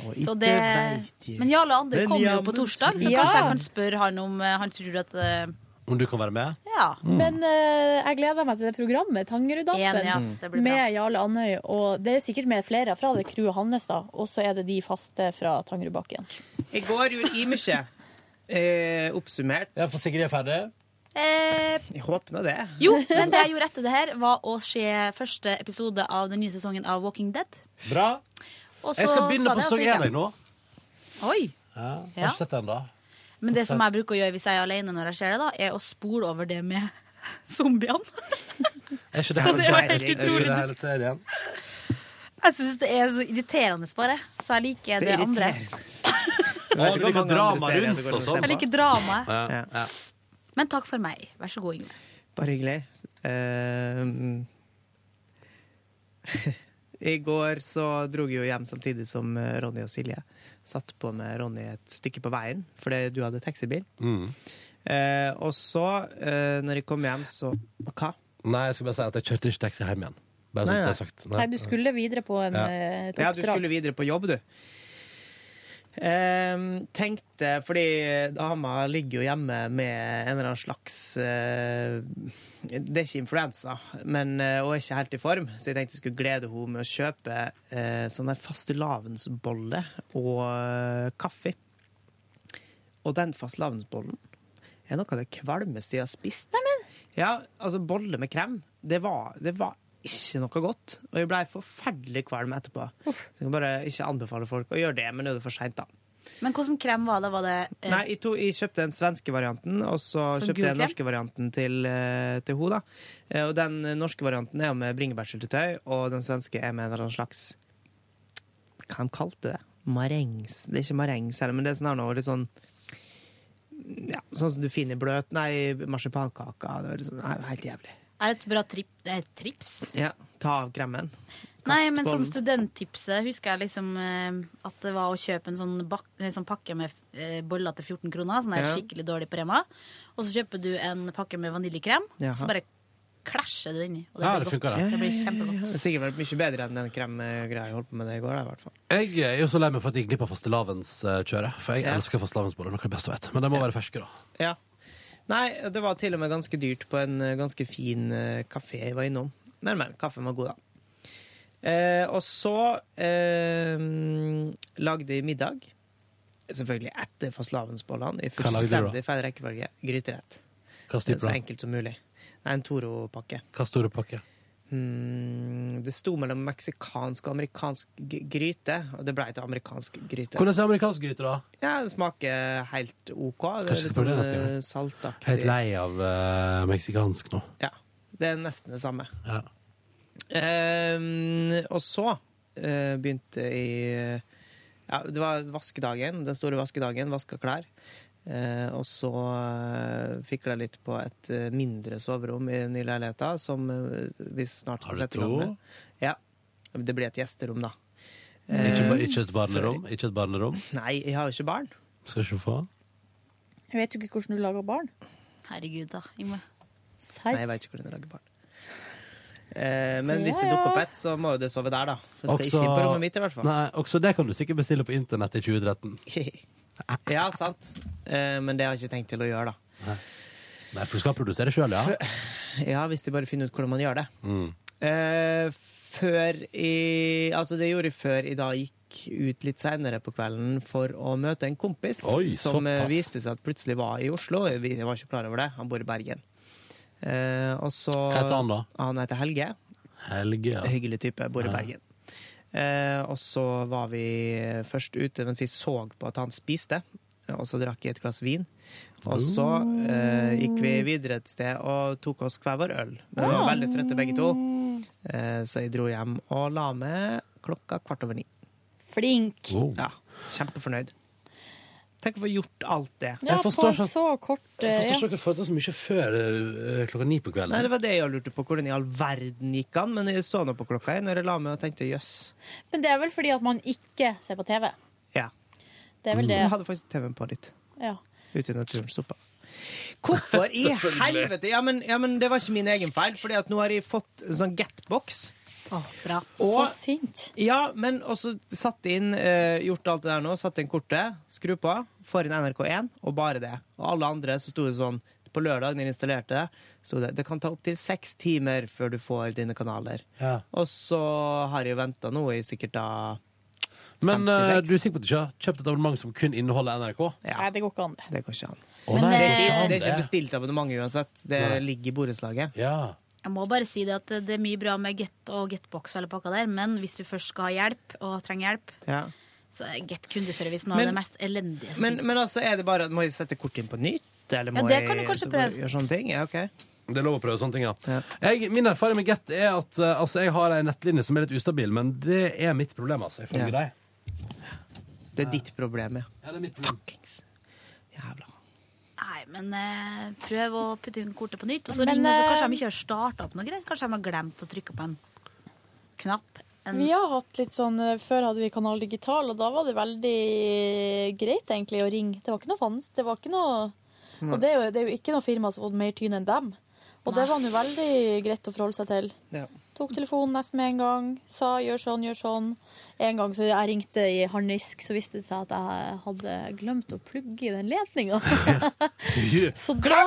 Og
Så
ikke
det
vet jeg.
Men Jarle Andøy
Men
kommer jo på
jammen-
torsdag, så
Ja.
kanskje jeg kan spørre han om eh, han tror at eh,
Om du kan være med?
Ja.
Mm.
Men eh, jeg gleder meg til det programmet,
Enig,
Tangeruddampen,
ass. Det blir bra.
med Jarle Andøy. Og det er sikkert med flere fra det crewet hans, da. Og så er det de faste fra Tangerudbakken.
I går gjorde jeg mye. Eh, oppsummert.
Ja, For Sigrid er ferdig?
eh,
Jeg håper nå det.
Jo, men det jeg gjorde etter det her, var å se første episode av den nye sesongen av Walking Dead.
Bra.
Og
Jeg
så
skal begynne
sa
på
det,
sesong
og så gikk
én
jeg.
jeg nå.
Oi.
Ja, har ikke
Ja.
sett det ennå.
Men det som jeg bruker å gjøre hvis jeg er alene når jeg ser det, da, er å spole over det med [LAUGHS] zombiene.
Er ikke det
Så
hele
det var
serien?
helt
Er ikke
utrolig.
det hele serien?
Jeg syns det er så irriterende, bare. Så jeg liker
Det
det,
er
andre.
Å,
vet
du
ikke
liker
mange
drama
andre serier det
rundt
går an å
og sånn?
Jeg liker dramaet.
Ja. Ja.
Men takk for meg. Vær så god, Ingrid.
Bare hyggelig. Eh, [LAUGHS] I går så dro jeg jo hjem samtidig som eh, Ronny og Silje. Satt på med Ronny et stykke på veien, fordi du hadde taxibil.
Mm.
Eh, og så, eh, når jeg kom hjem, så Hva?
Nei, jeg skulle bare si at jeg kjørte ikke taxi hjem igjen. Bare
Nei, nei.
sånn at det er sagt.
Nei, du skulle videre på en,
Ja.
eh, et
Ja, du
oppdrag.
skulle videre på jobb, du. Ehm, tenkte, fordi dama ligger jo hjemme med en eller annen slags eh, Det er ikke influensa, men eh, hun er ikke helt i form, så jeg tenkte jeg skulle glede henne med å kjøpe eh, sånne fastelavnsboller og eh, kaffe. Og den fastelavnsbollen er noe av det kvalmeste jeg har spist. Ja, altså bolle med krem, det var, det var ikke noe godt. Og jeg blei forferdelig kvalm etterpå. Så jeg kan bare ikke anbefale folk å gjøre det, men nå er det for seint, da.
Men hvordan krem var det? Var det eh,
Nei, jeg, to, jeg kjøpte den svenske varianten, og så
Som
kjøpte jeg
gul krem?
den norske varianten til, eh, til henne. Og den norske varianten er jo med bringebærsyltetøy, og den svenske er med en eller annen slags Hva de kalte det? Marengs. Det er ikke marengs heller, men det er sånn her noe litt sånn ja, Sånn som du finner i bløt Nei, marsipankaker. Det var liksom, nei, helt jævlig.
Er et bra trip, det er et trips?
Ja, ta av kremmen. Kast
Nei, men
på
som
den.
studenttipset husker jeg liksom eh, at det var å kjøpe en sånn, bak, en sånn pakke med eh, boller til 14 kroner, sånn der
Ja.
skikkelig dårlig på Rema. Og så kjøper du en pakke med vaniljekrem,
Jaha.
så bare klæsjer det inni. Og det
Ja,
blir
det
godt.
funker, det.
Det blir
Det
kjempegodt.
har sikkert vært mye bedre enn den kremgreia jeg holdt på med det i går. Da, i hvert fall.
Jeg er jo så lei meg for at jeg gikk glipp av fastelavnskjøret. For jeg elsker fastelavnsboller. Noe av det beste jeg vet. Men de må være ferske, da.
Ja. Nei, det var til og med ganske dyrt på en eh, ganske fin eh, kafé jeg var innom. Men, men, kaffen var god, da. Eh, og så eh, lagde jeg middag. Selvfølgelig etter fastelavnsbollene. I
Hva lagde du da?
fullstendig feil rekkefølge. Gryterett.
Hva stod på
så
den?
enkelt som mulig. Nei, en Toro-pakke.
Hva store pakke?
Mm, det sto mellom meksikansk og amerikansk g- gryte, og det ble til amerikansk gryte.
Hvordan er amerikansk gryte, da?
Ja, det smaker helt OK. Det er
Kanskje
litt
skal
sånn
prøve det neste gang.
eh, saltaktig.
Helt lei av eh, meksikansk nå.
Ja, det er nesten det samme.
Ja.
Ehm, og så eh, begynte jeg ja, Det var vaskedagen, den store vaskedagen. Vaska klær. Eh, og så uh, fikla jeg litt på et eh, mindre soverom i den nye leiligheta, som eh, vi snart skal
Har du
sette i gang
to?
med. Ja. Det blir et gjesterom, da.
Ikke, ba-
Eh,
ikke et barnerom? Ikke et barnerom?
Nei, jeg har jo ikke barn.
Skal ikke få?
Jeg vet jo ikke hvordan du lager barn. Herregud, da. Yngve.
Nei, jeg vet ikke hvordan jeg lager barn. Eh, men hvis det
Ja, ja.
dukker opp et, så må jo det sove der, da. For det skal ikke inn på rommet mitt, i hvert fall.
Nei, også det kan du sikkert bestille på internett i 2013.
[LAUGHS] ja, sant. Eh, men det har jeg ikke tenkt til å gjøre, da.
Nei, for du skal produsere sjøl, ja?
Ja, hvis de bare finner ut hvordan man gjør det.
Mm.
Eh, før i Altså, det gjorde jeg før i dag gikk ut litt seinere på kvelden for å møte en kompis
Oi,
som eh,
såpass.
viste seg at plutselig var i Oslo. Jeg vi- jeg var ikke klar over det. Han bor i Bergen. Eh, og så
Hva heter han da?
Han heter Helge.
Helge, ja.
Hyggelig type. Bor i
Ja.
Bergen. Eh, og så var vi først ute mens jeg så på at han spiste. Og så drakk jeg et glass vin. Og så eh, gikk
Oh.
vi videre et sted og tok oss hver vår øl. Men vi var
Ja.
veldig trøtte begge to, eh, så jeg dro hjem og la meg klokka kvart over ni.
Flink.
Ja, Kjempefornøyd. Tenk å få gjort alt det.
Ja, Jeg forstår på ikke-
så kort
Jeg
eh,
forstår ikke hvorfor det er så mye før eh, klokka ni
Nei,
på
Det
kvelden.
var det jeg lurte på, hvordan i all verden gikk an? Men jeg så nå på klokka jeg, når jeg la meg og tenkte jøss.
Men det er vel fordi at man ikke ser på TV.
Ja.
Det
Mm.
er vel det.
Jeg hadde faktisk TV-en på litt.
Ja.
Ute i naturen. Stoppa. Hvorfor
[LAUGHS]
i
Selvfølgelig.
helvete? Ja men, ja, men det var ikke min egen feil, Fordi at nå har jeg fått en sånn getbox.
bra.
Og-
Så sint.
Ja, men også satt inn eh, Gjort alt det der nå, satt inn kortet, skru på, får inn NRK1, og bare det. Og alle andre så sto det sånn på lørdag, når jeg installerte det, sto det det kan ta opptil seks timer før du får dine kanaler.
Ja.
Og så har jeg venta nå i sikkert da
Men eh,
56.
du er sikker på at du ikke har kjøpt et abonnement som kun inneholder NRK?
Nei, det går ikke an.
Det går ikke an.
Å, nei,
det, er
det går
ikke,
ikke an,
det er ikke
det.
bestilt abonnement uansett. Det
Nei.
ligger i borettslaget.
Jeg må bare si det at det er mye bra med get og getbox og hele pakka der, men hvis du først skal ha hjelp, og trenger hjelp,
Ja.
så er get kundeservice noe av
Men-
det mest elendige som
Men,
finnes.
men altså, er det bare at må jeg sette kortet inn på nytt? Eller
Ja,
må
det kan du
jeg
kanskje
så bare
prøve.
gjøre sånne ting? Ja, ok.
Det er lov å prøve sånne ting, ja. Jeg, min erfaring med Get er at eh, altså, jeg har ei nettlinje som er litt ustabil, men det er mitt problem, altså.
Ja.
Ifølge deg.
Det er ditt problem, ja.
Ja, det er mitt problem.
Nei, men eh, prøv å putte inn kortet på nytt, og så
Men,
ring, og så
eh,
kanskje de ikke har starta opp noe greier. Kanskje de har glemt å trykke på en knapp. En,
Vi har hatt litt sånn, eh, Før hadde vi Kanal Digital, og da var det veldig greit egentlig å ringe. Det var ikke noe fans, det var ikke noe... Og det er, jo, det er jo ikke noe firma som har fått mer tyn enn dem. Og det var nå veldig greit å forholde seg til.
Ja.
Tok telefonen nesten med en gang, sa gjør sånn, gjør sånn. En gang så jeg ringte i harnisk, så viste det seg at jeg hadde glemt å plugge i den ledninga. Så da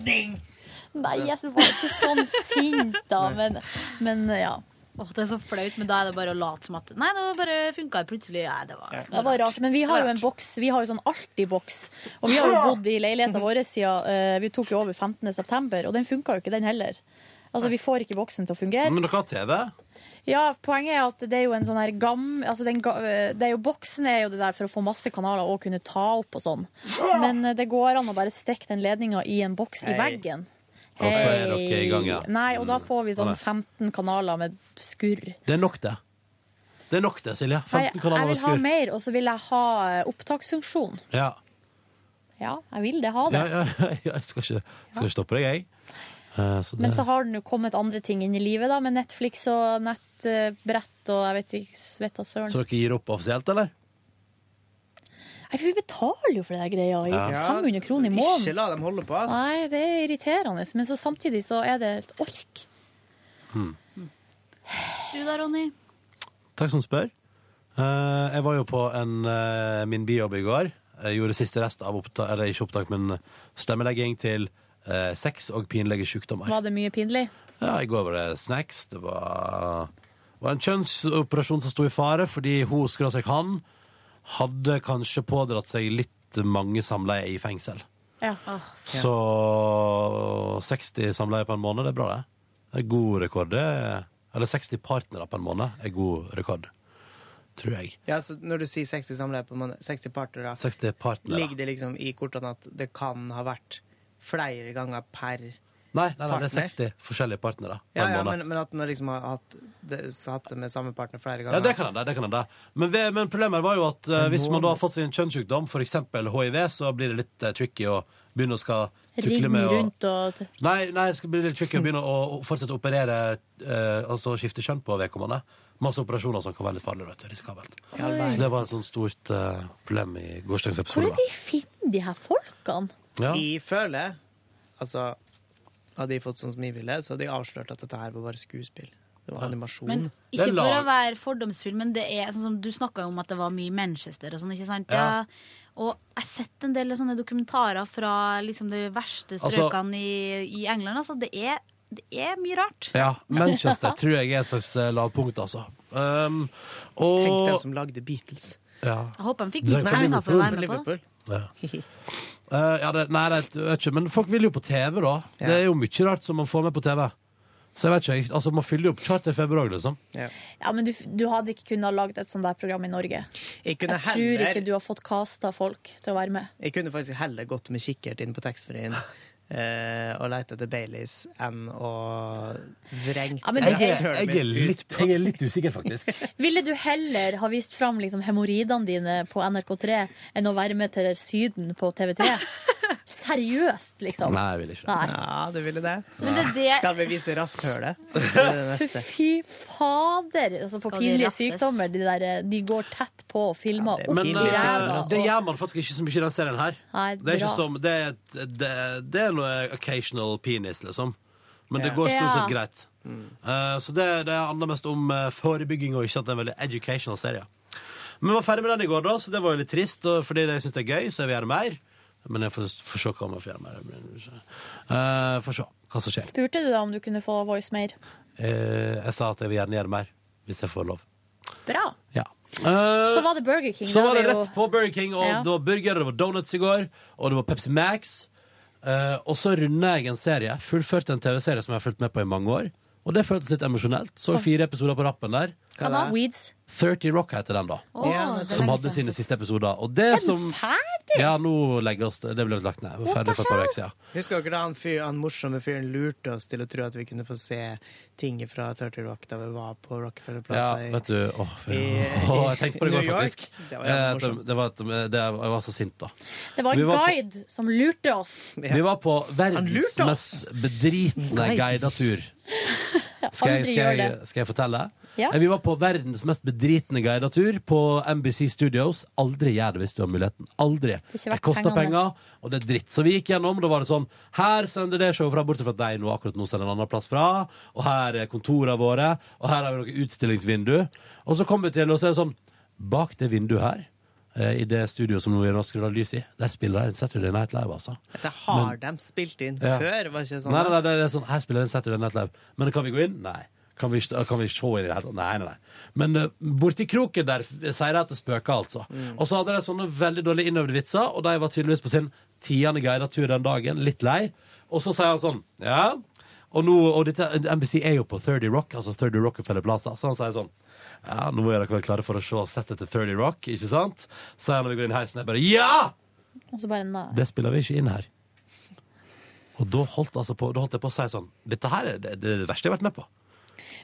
Nei, jeg var ikke sånn sint da, men, men ja.
Åh, det er så flaut, men da er det bare å late som at Nei, nå bare funka det plutselig. Ja, det var,
Det var rart, men vi har jo en boks. Vi har jo sånn Alti-boks. Og vi har jo bodd i leiligheten vår siden eh, vi tok jo over 15. september, og den funka jo ikke, den heller. Altså, vi får ikke boksen til å fungere.
Men dere har TV?
Ja, poenget er at det er jo en sånn her gam... Altså den, ga- det er jo boksen er jo det der for å få masse kanaler og kunne ta opp og sånn. Men eh, det går an å bare stikke den ledninga i en boks i
Hei.
veggen.
Og så er
Hei.
dere i gang, ja. Mm.
Nei, og da får vi
Å, nei.
sånn 15 kanaler med skurr.
Det er nok, det. Det er nok, det, Silje.
Nei,
15
jeg
kanaler og
vil ha
skur.
mer, og så vil jeg ha eh, opptaksfunksjon.
Ja.
Ja, jeg vil det. Ha
[LAUGHS]
det.
Ja, ja, ja, jeg skal ikke, skal ikke stoppe deg, jeg. Eh, så
Men
det-
så har den jo kommet andre ting inn i livet, da, med Netflix og nettbrett og jeg vet ikke vet da søren.
Så dere gir opp offisielt, eller?
Nei, for vi betaler jo for det der greia. i
Ja.
500 kroner i måneden.
Ikke la dem holde på, ass.
Nei, det er irriterende, men så samtidig så er det et ork.
Du da, Ronny?
Takk som spør. Eh, jeg var jo på en, eh, min bijobb i går. Jeg gjorde siste rest av opptak, eller ikke opptak, men stemmelegging til eh, sex og pinlige sykdommer.
Var det mye pinlig?
Ja, I går var det snacks. Det var, var en kjønnsoperasjon som sto i fare fordi hun skråstrek han hadde kanskje pådratt seg litt mange samleier i fengsel.
Ja.
Ah,
Så 60 samleier på en måned, det er bra, det. Det er god rekord. Det er, eller 60 partnere på en måned er god rekord, tror jeg.
Ja, så når du sier 60 samleie på måned, 60 partnere,
60 partnere.
ligger det liksom i kortene at det kan ha vært flere ganger per
Nei, nei, nei, det
partner?
er 60 forskjellige partnere på
Ja,
en
ja
måned.
men, men at man liksom har hatt, det, hatt seg med samme partner flere ganger.
Ja, det kan hende. det kan hende. Men, ved- men problemet var jo at eh,
Men
hvis
nå-
man da har fått seg en kjønnssykdom, f.eks. hiv, så blir det litt eh, tricky å begynne å skal tukle
Ring
med å
rundt og
Nei, nei, det skal bli litt tricky å begynne å å fortsette å operere, eh, altså skifte kjønn på vedkommende. Masse operasjoner som kan være litt farlig, vet du. Risikabelt.
Oi.
Så det var et sånt stort eh, problem i gårsdagens
Hvor
episode.
er de finner de her folkene?
Ja.
Jeg føler Altså, hadde de fått sånn som jeg ville, så hadde de avslørt at dette her var bare skuespill. Det var animasjon.
Mm.
Men ikke for å være fordomsfull, men det er sånn som du snakka om at det var mye Manchester og sånn, ikke sant?
Ja.
Ja. Og jeg har sett en del sånne dokumentarer fra liksom de verste
Altså-
strøkene i, i England. Altså, det er, det er mye rart.
Ja, Manchester tror jeg er et slags eh, lavpunkt, altså. Um, og
Tenk dem som lagde Beatles.
ja.
Jeg håper de fikk
Det er
mye
ikke
penger for å være med på det.
Liverpool.
Ja. [LAUGHS] Eh, ja, det, nei, det vet jeg ikke, men folk vil jo på TV, da. Det er jo mye rart som man får med på TV. Så jeg vet ikke, jeg- altså man fyller jo opp charterfeber òg, liksom.
Ja, men du, du hadde ikke kunnet ha lagd et sånt der program i Norge.
Jeg kunne
Jeg tror
heller-
ikke du har fått casta folk til å være med.
Jeg kunne faktisk heller gått med kikkert inn på taxfree-en eh, og leit etter Baileys enn å vrengte
Ja, men det
jeg,
er-
er, jeg, er litt, jeg er litt usikker, faktisk.
Ville du heller ha vist fram liksom, hemoroidene dine på NRK3 enn å være med til Syden på TV3?
[LAUGHS]
Seriøst, liksom.
[LAUGHS] Nei, jeg vil ikke
Nei.
Ja, du ville det.
Men det er det-
Skal vi vise
[LAUGHS]
rasshølet? Det er det neste.
Fy fader! Altså, for
Skal de
pinlige
rasses?
sykdommer. De, der, eh, de går tett på og filmer opp
Men
i
eh,
ræva.
det
og-
gjør man faktisk ikke så mye i den serien her.
Nei,
Det er
bra.
ikke som Det er, et- det, det er noe occasional penis, liksom. Men det
Ja.
går stort sett
Ja. Mm.
greit. Eh, så det, det handler mest om eh, forebygging, og ikke at det er en veldig educational serie. Men vi var ferdig med den i går, da, så det var jo litt trist. Og fordi jeg syns det er gøy, så jeg vil gjøre mer. Men jeg får, får se hva man får gjøre mer. Uh, får se hva som skjer.
Spurte du da om du kunne få voice mer?
Eh, jeg sa at jeg vil gjerne gjøre mer, hvis jeg får lov.
Bra.
Ja. Eh,
Så var det Burger King.
Så
da
var det
vi jo-
rett på Burger King, og
Ja.
det var burger, og det var donuts i går, og det var Pepsi Max. Eh, og så runda jeg en serie, fullførte en TV-serie som jeg har fulgt med på i mange år. Og det føltes litt emosjonelt. Så fire episoder på rappen der.
Hva da? Weeds.
30 Rock heter den, da.
Åh, Ja, det er
som
lenge
hadde
siden.
sine siste episoder. Og
Er
det
den
som
ferdig?
Ja, nå legges det. Det ble lagt ned.
What
Ferdig
the
for et par
hell?
uker siden.
Husker dere da han, fyr, han morsomme fyren lurte oss til å tro at vi kunne få se ting fra 30 Rock da vi var på Rockefeller
Ja,
Plaza? i-
vet du Åh, fy-
i-
[LAUGHS] åh, jeg tenkte på det i
New
går,
York.
faktisk.
Det var
Eh,
jævlig
at
morsomt.
det var, at eh, det- det- jeg var så sint, da.
Det var
Vi
en
var på-
guide som lurte oss.
Vi var på verdens
lurte oss.
mest bedritne
Nei. [LAUGHS]
guidetur.
Jeg
Skal jeg,
aldri
skal,
gjør
jeg,
det.
skal jeg fortelle?
Ja.
Eh, Vi var på verdens mest bedritne guidetur på NBC Studios. Aldri gjør det hvis du har muligheten. Aldri.
Ikke
Det
verdt
koster
pengene.
penger, og det er dritt. Så vi gikk gjennom, da var det sånn Her sender det show fra, bortsett fra deg nå, akkurat nå sender en annen plass fra. Og her er kontorene våre, og her har vi noen utstillingsvindu. Og så kom vi til, og så er det sånn Bak det vinduet her, eh, i det studioet som nå er skrur av lys i, der spiller de Saturday Night Live, altså.
Dette har
Men-
de spilt inn
Ja.
før, var ikke det sånn?
Nei, nei, nei, det er sånn, her spiller den Saturday Night Live. Men kan vi gå inn? Nei. Kan vi, kan vi se inn i det hele tatt? Nei, nei, nei. Men eh, borti kroken der f- sier de at det spøker, altså.
Mm.
Og så hadde de sånne veldig dårlige innøvde vitser, og de var tydeligvis på sin tiende guidet tur den dagen, litt lei. Og så sier han sånn, ja. Og, nå, og dette, NBC er jo på 30 Rock, altså 30 Rockefeller Plaza, så han sier sånn, ja, nå er dere vel klare for å se settet til 30 Rock, ikke sant? Så sier han når vi går inn i heisen, jeg bare, ja!
Og så bare nei.
Det spiller vi ikke inn her. Og da holdt, altså på, da holdt jeg på å si sånn Dette her er det, det, er det verste jeg har vært med på.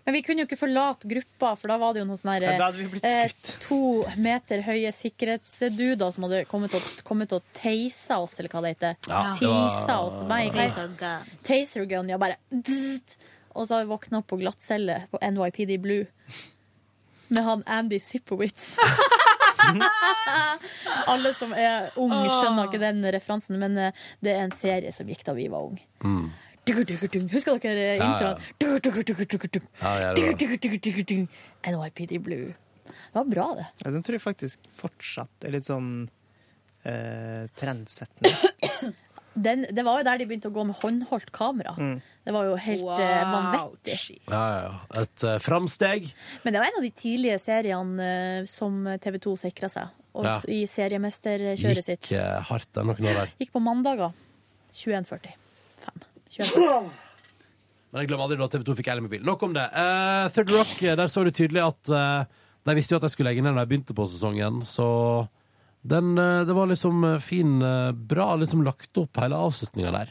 Men vi kunne jo ikke forlate gruppa, for da var det jo noen sånne her,
Ja, da hadde vi blitt
eh, to meter høye sikkerhetsduder som hadde kommet og, kommet og teisa oss, eller hva det heter.
Ja, det
Teisa
var-
oss. Meg,
Taser gun.
Taser gun, ja, bare dzzt. Og så har vi våkna opp på glattcelle på NYPD Blue med han Andy Zippowitz. [LAUGHS] Alle som er ung skjønner ikke den referansen, men eh, det er en serie som gikk da vi var ung.
Mm.
Dugur-dugur-dung. Husker dere eh,
Ja, ja.
introen? Dugur-dugur-dugur-dugur-dung.
Ja, jeg gjør det.
Dugur-dugur-dugur-dugur-dung. NYPD Blue. Det var bra, det.
Ja, de tror jeg faktisk fortsatt er litt sånn eh, [LAUGHS] trendsettende.
Den, det var jo der de begynte å gå med håndholdt kamera.
Mm.
Det var jo helt eh, vanvittig.
Ja, ja, ja. Et uh, framsteg.
Men det var en av de tidlige seriene eh, som TV 2 sikra seg og,
Ja.
i seriemesterkjøret sitt.
Gikk eh, hardt den noen år der.
Gikk på mandager 21.40. 21.
Men jeg glemmer aldri da TV 2 fikk Ally med bil. Nok om det. Eh, Third Rock, eh, der så du tydelig at eh, de visste jo at de skulle legge ned da de begynte på sesongen, så den, eh, det var liksom eh, fin, eh, bra liksom lagt opp hele avslutninga der.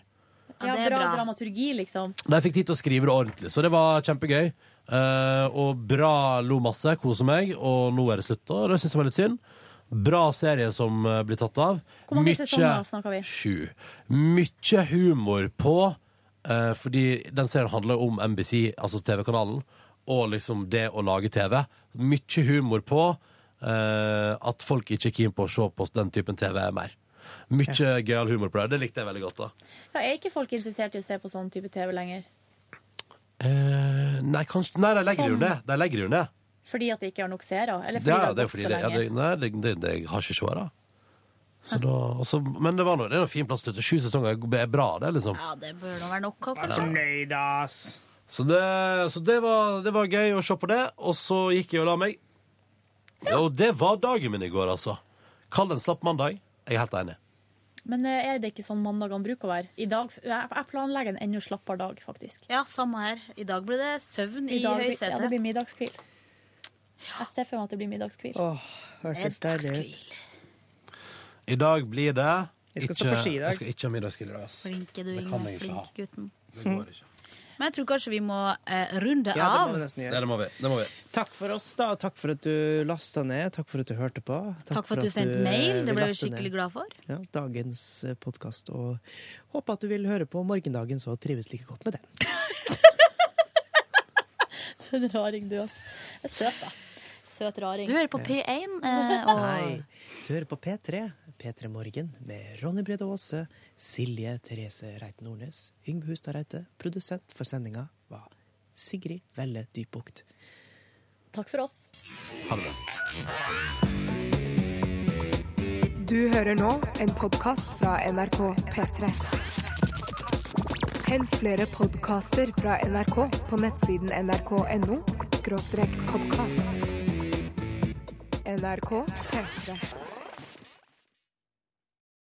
Ja, bra, dramaturgi, liksom.
De fikk tid til å skrive det ordentlig, så det var kjempegøy. Eh, og bra lo masse, koser meg, og nå er det slutt. Og det syns jeg var litt synd. Bra serie som eh, blir tatt av.
Hvor mange
Mykje-
sesonger snakker vi?
Sju. Mykje humor på, eh, fordi den serien handler om NBC, altså TV-kanalen, og liksom det å lage TV. Mykje humor på eh, at folk ikke er keen på å se på den typen TV mer. Mykje gøyal humor på det. Det likte jeg veldig godt. da
Ja, er ikke folk interessert i å se på sånn type TV lenger?
Eh, nei, kanskje, nei, de legger det jo
Sånn.
ned. De legger det jo ned.
Fordi at de ikke har nok seere? Eller fordi
Ja,
det har
det er
gått
fordi
så
det, ja,
lenge?
det, nei, det, det, det jeg har ikke seere. Så da, og så- men det, var noe, det er en fin plass til å slutte. Sju sesonger er bra, det, liksom.
Ja, det bør nå være nok,
Vær
kanskje.
Så, det, så det, var, det var gøy å se på det, og så gikk jeg og la meg. Og det var dagen min i går, altså. Kall det en slapp mandag. Jeg er helt enig.
Men eh, er det ikke sånn mandagene bruker å være? I dag, jeg jeg planlegger en enda slappere dag, faktisk.
Ja, samme her. I dag blir det søvn i,
I dag blir-
høysetet.
ja, det blir middagskvil. Jeg ser for meg at det blir middagskvil. [LAUGHS]
hørtes deilig ut.
I dag blir det
Jeg skal stå på ski i dag.
Jeg skal ikke ha middagskveld i dag. ass.
Flinke du,
Det kan
Inge.
jeg ikke ha.
Flink gutten.
Det går ikke.
Men jeg tror kanskje vi må eh, runde
Ja, det må
av.
vi nesten
Det,
gjøre.
det må vi. Det må vi.
Takk for oss, da. og Takk for at du lasta ned. Takk for at du hørte på.
Takk for at du sendte mail, det ble vi
lastet ned.
skikkelig glad for.
Ja, dagens podkast. Og håper at du vil høre på morgendagen, så trives like godt med den.
Du er en raring, du, altså. Jeg er Søt, da. Søt raring.
Du hører på P1,
[LAUGHS]
eh, og
Nei, du hører på P3. P3 Morgen med Ronny Brede Aase, Silje Therese Reiten Nordnes, Yngve Hustad Reite. Produsent for sendinga var Sigrid Velle Dybukt.
Takk for oss.
Ha det bra.
Du hører nå en podkast fra NRK P3. Hent flere podkaster fra NRK på nettsiden nrk.no podkast. NRK P3.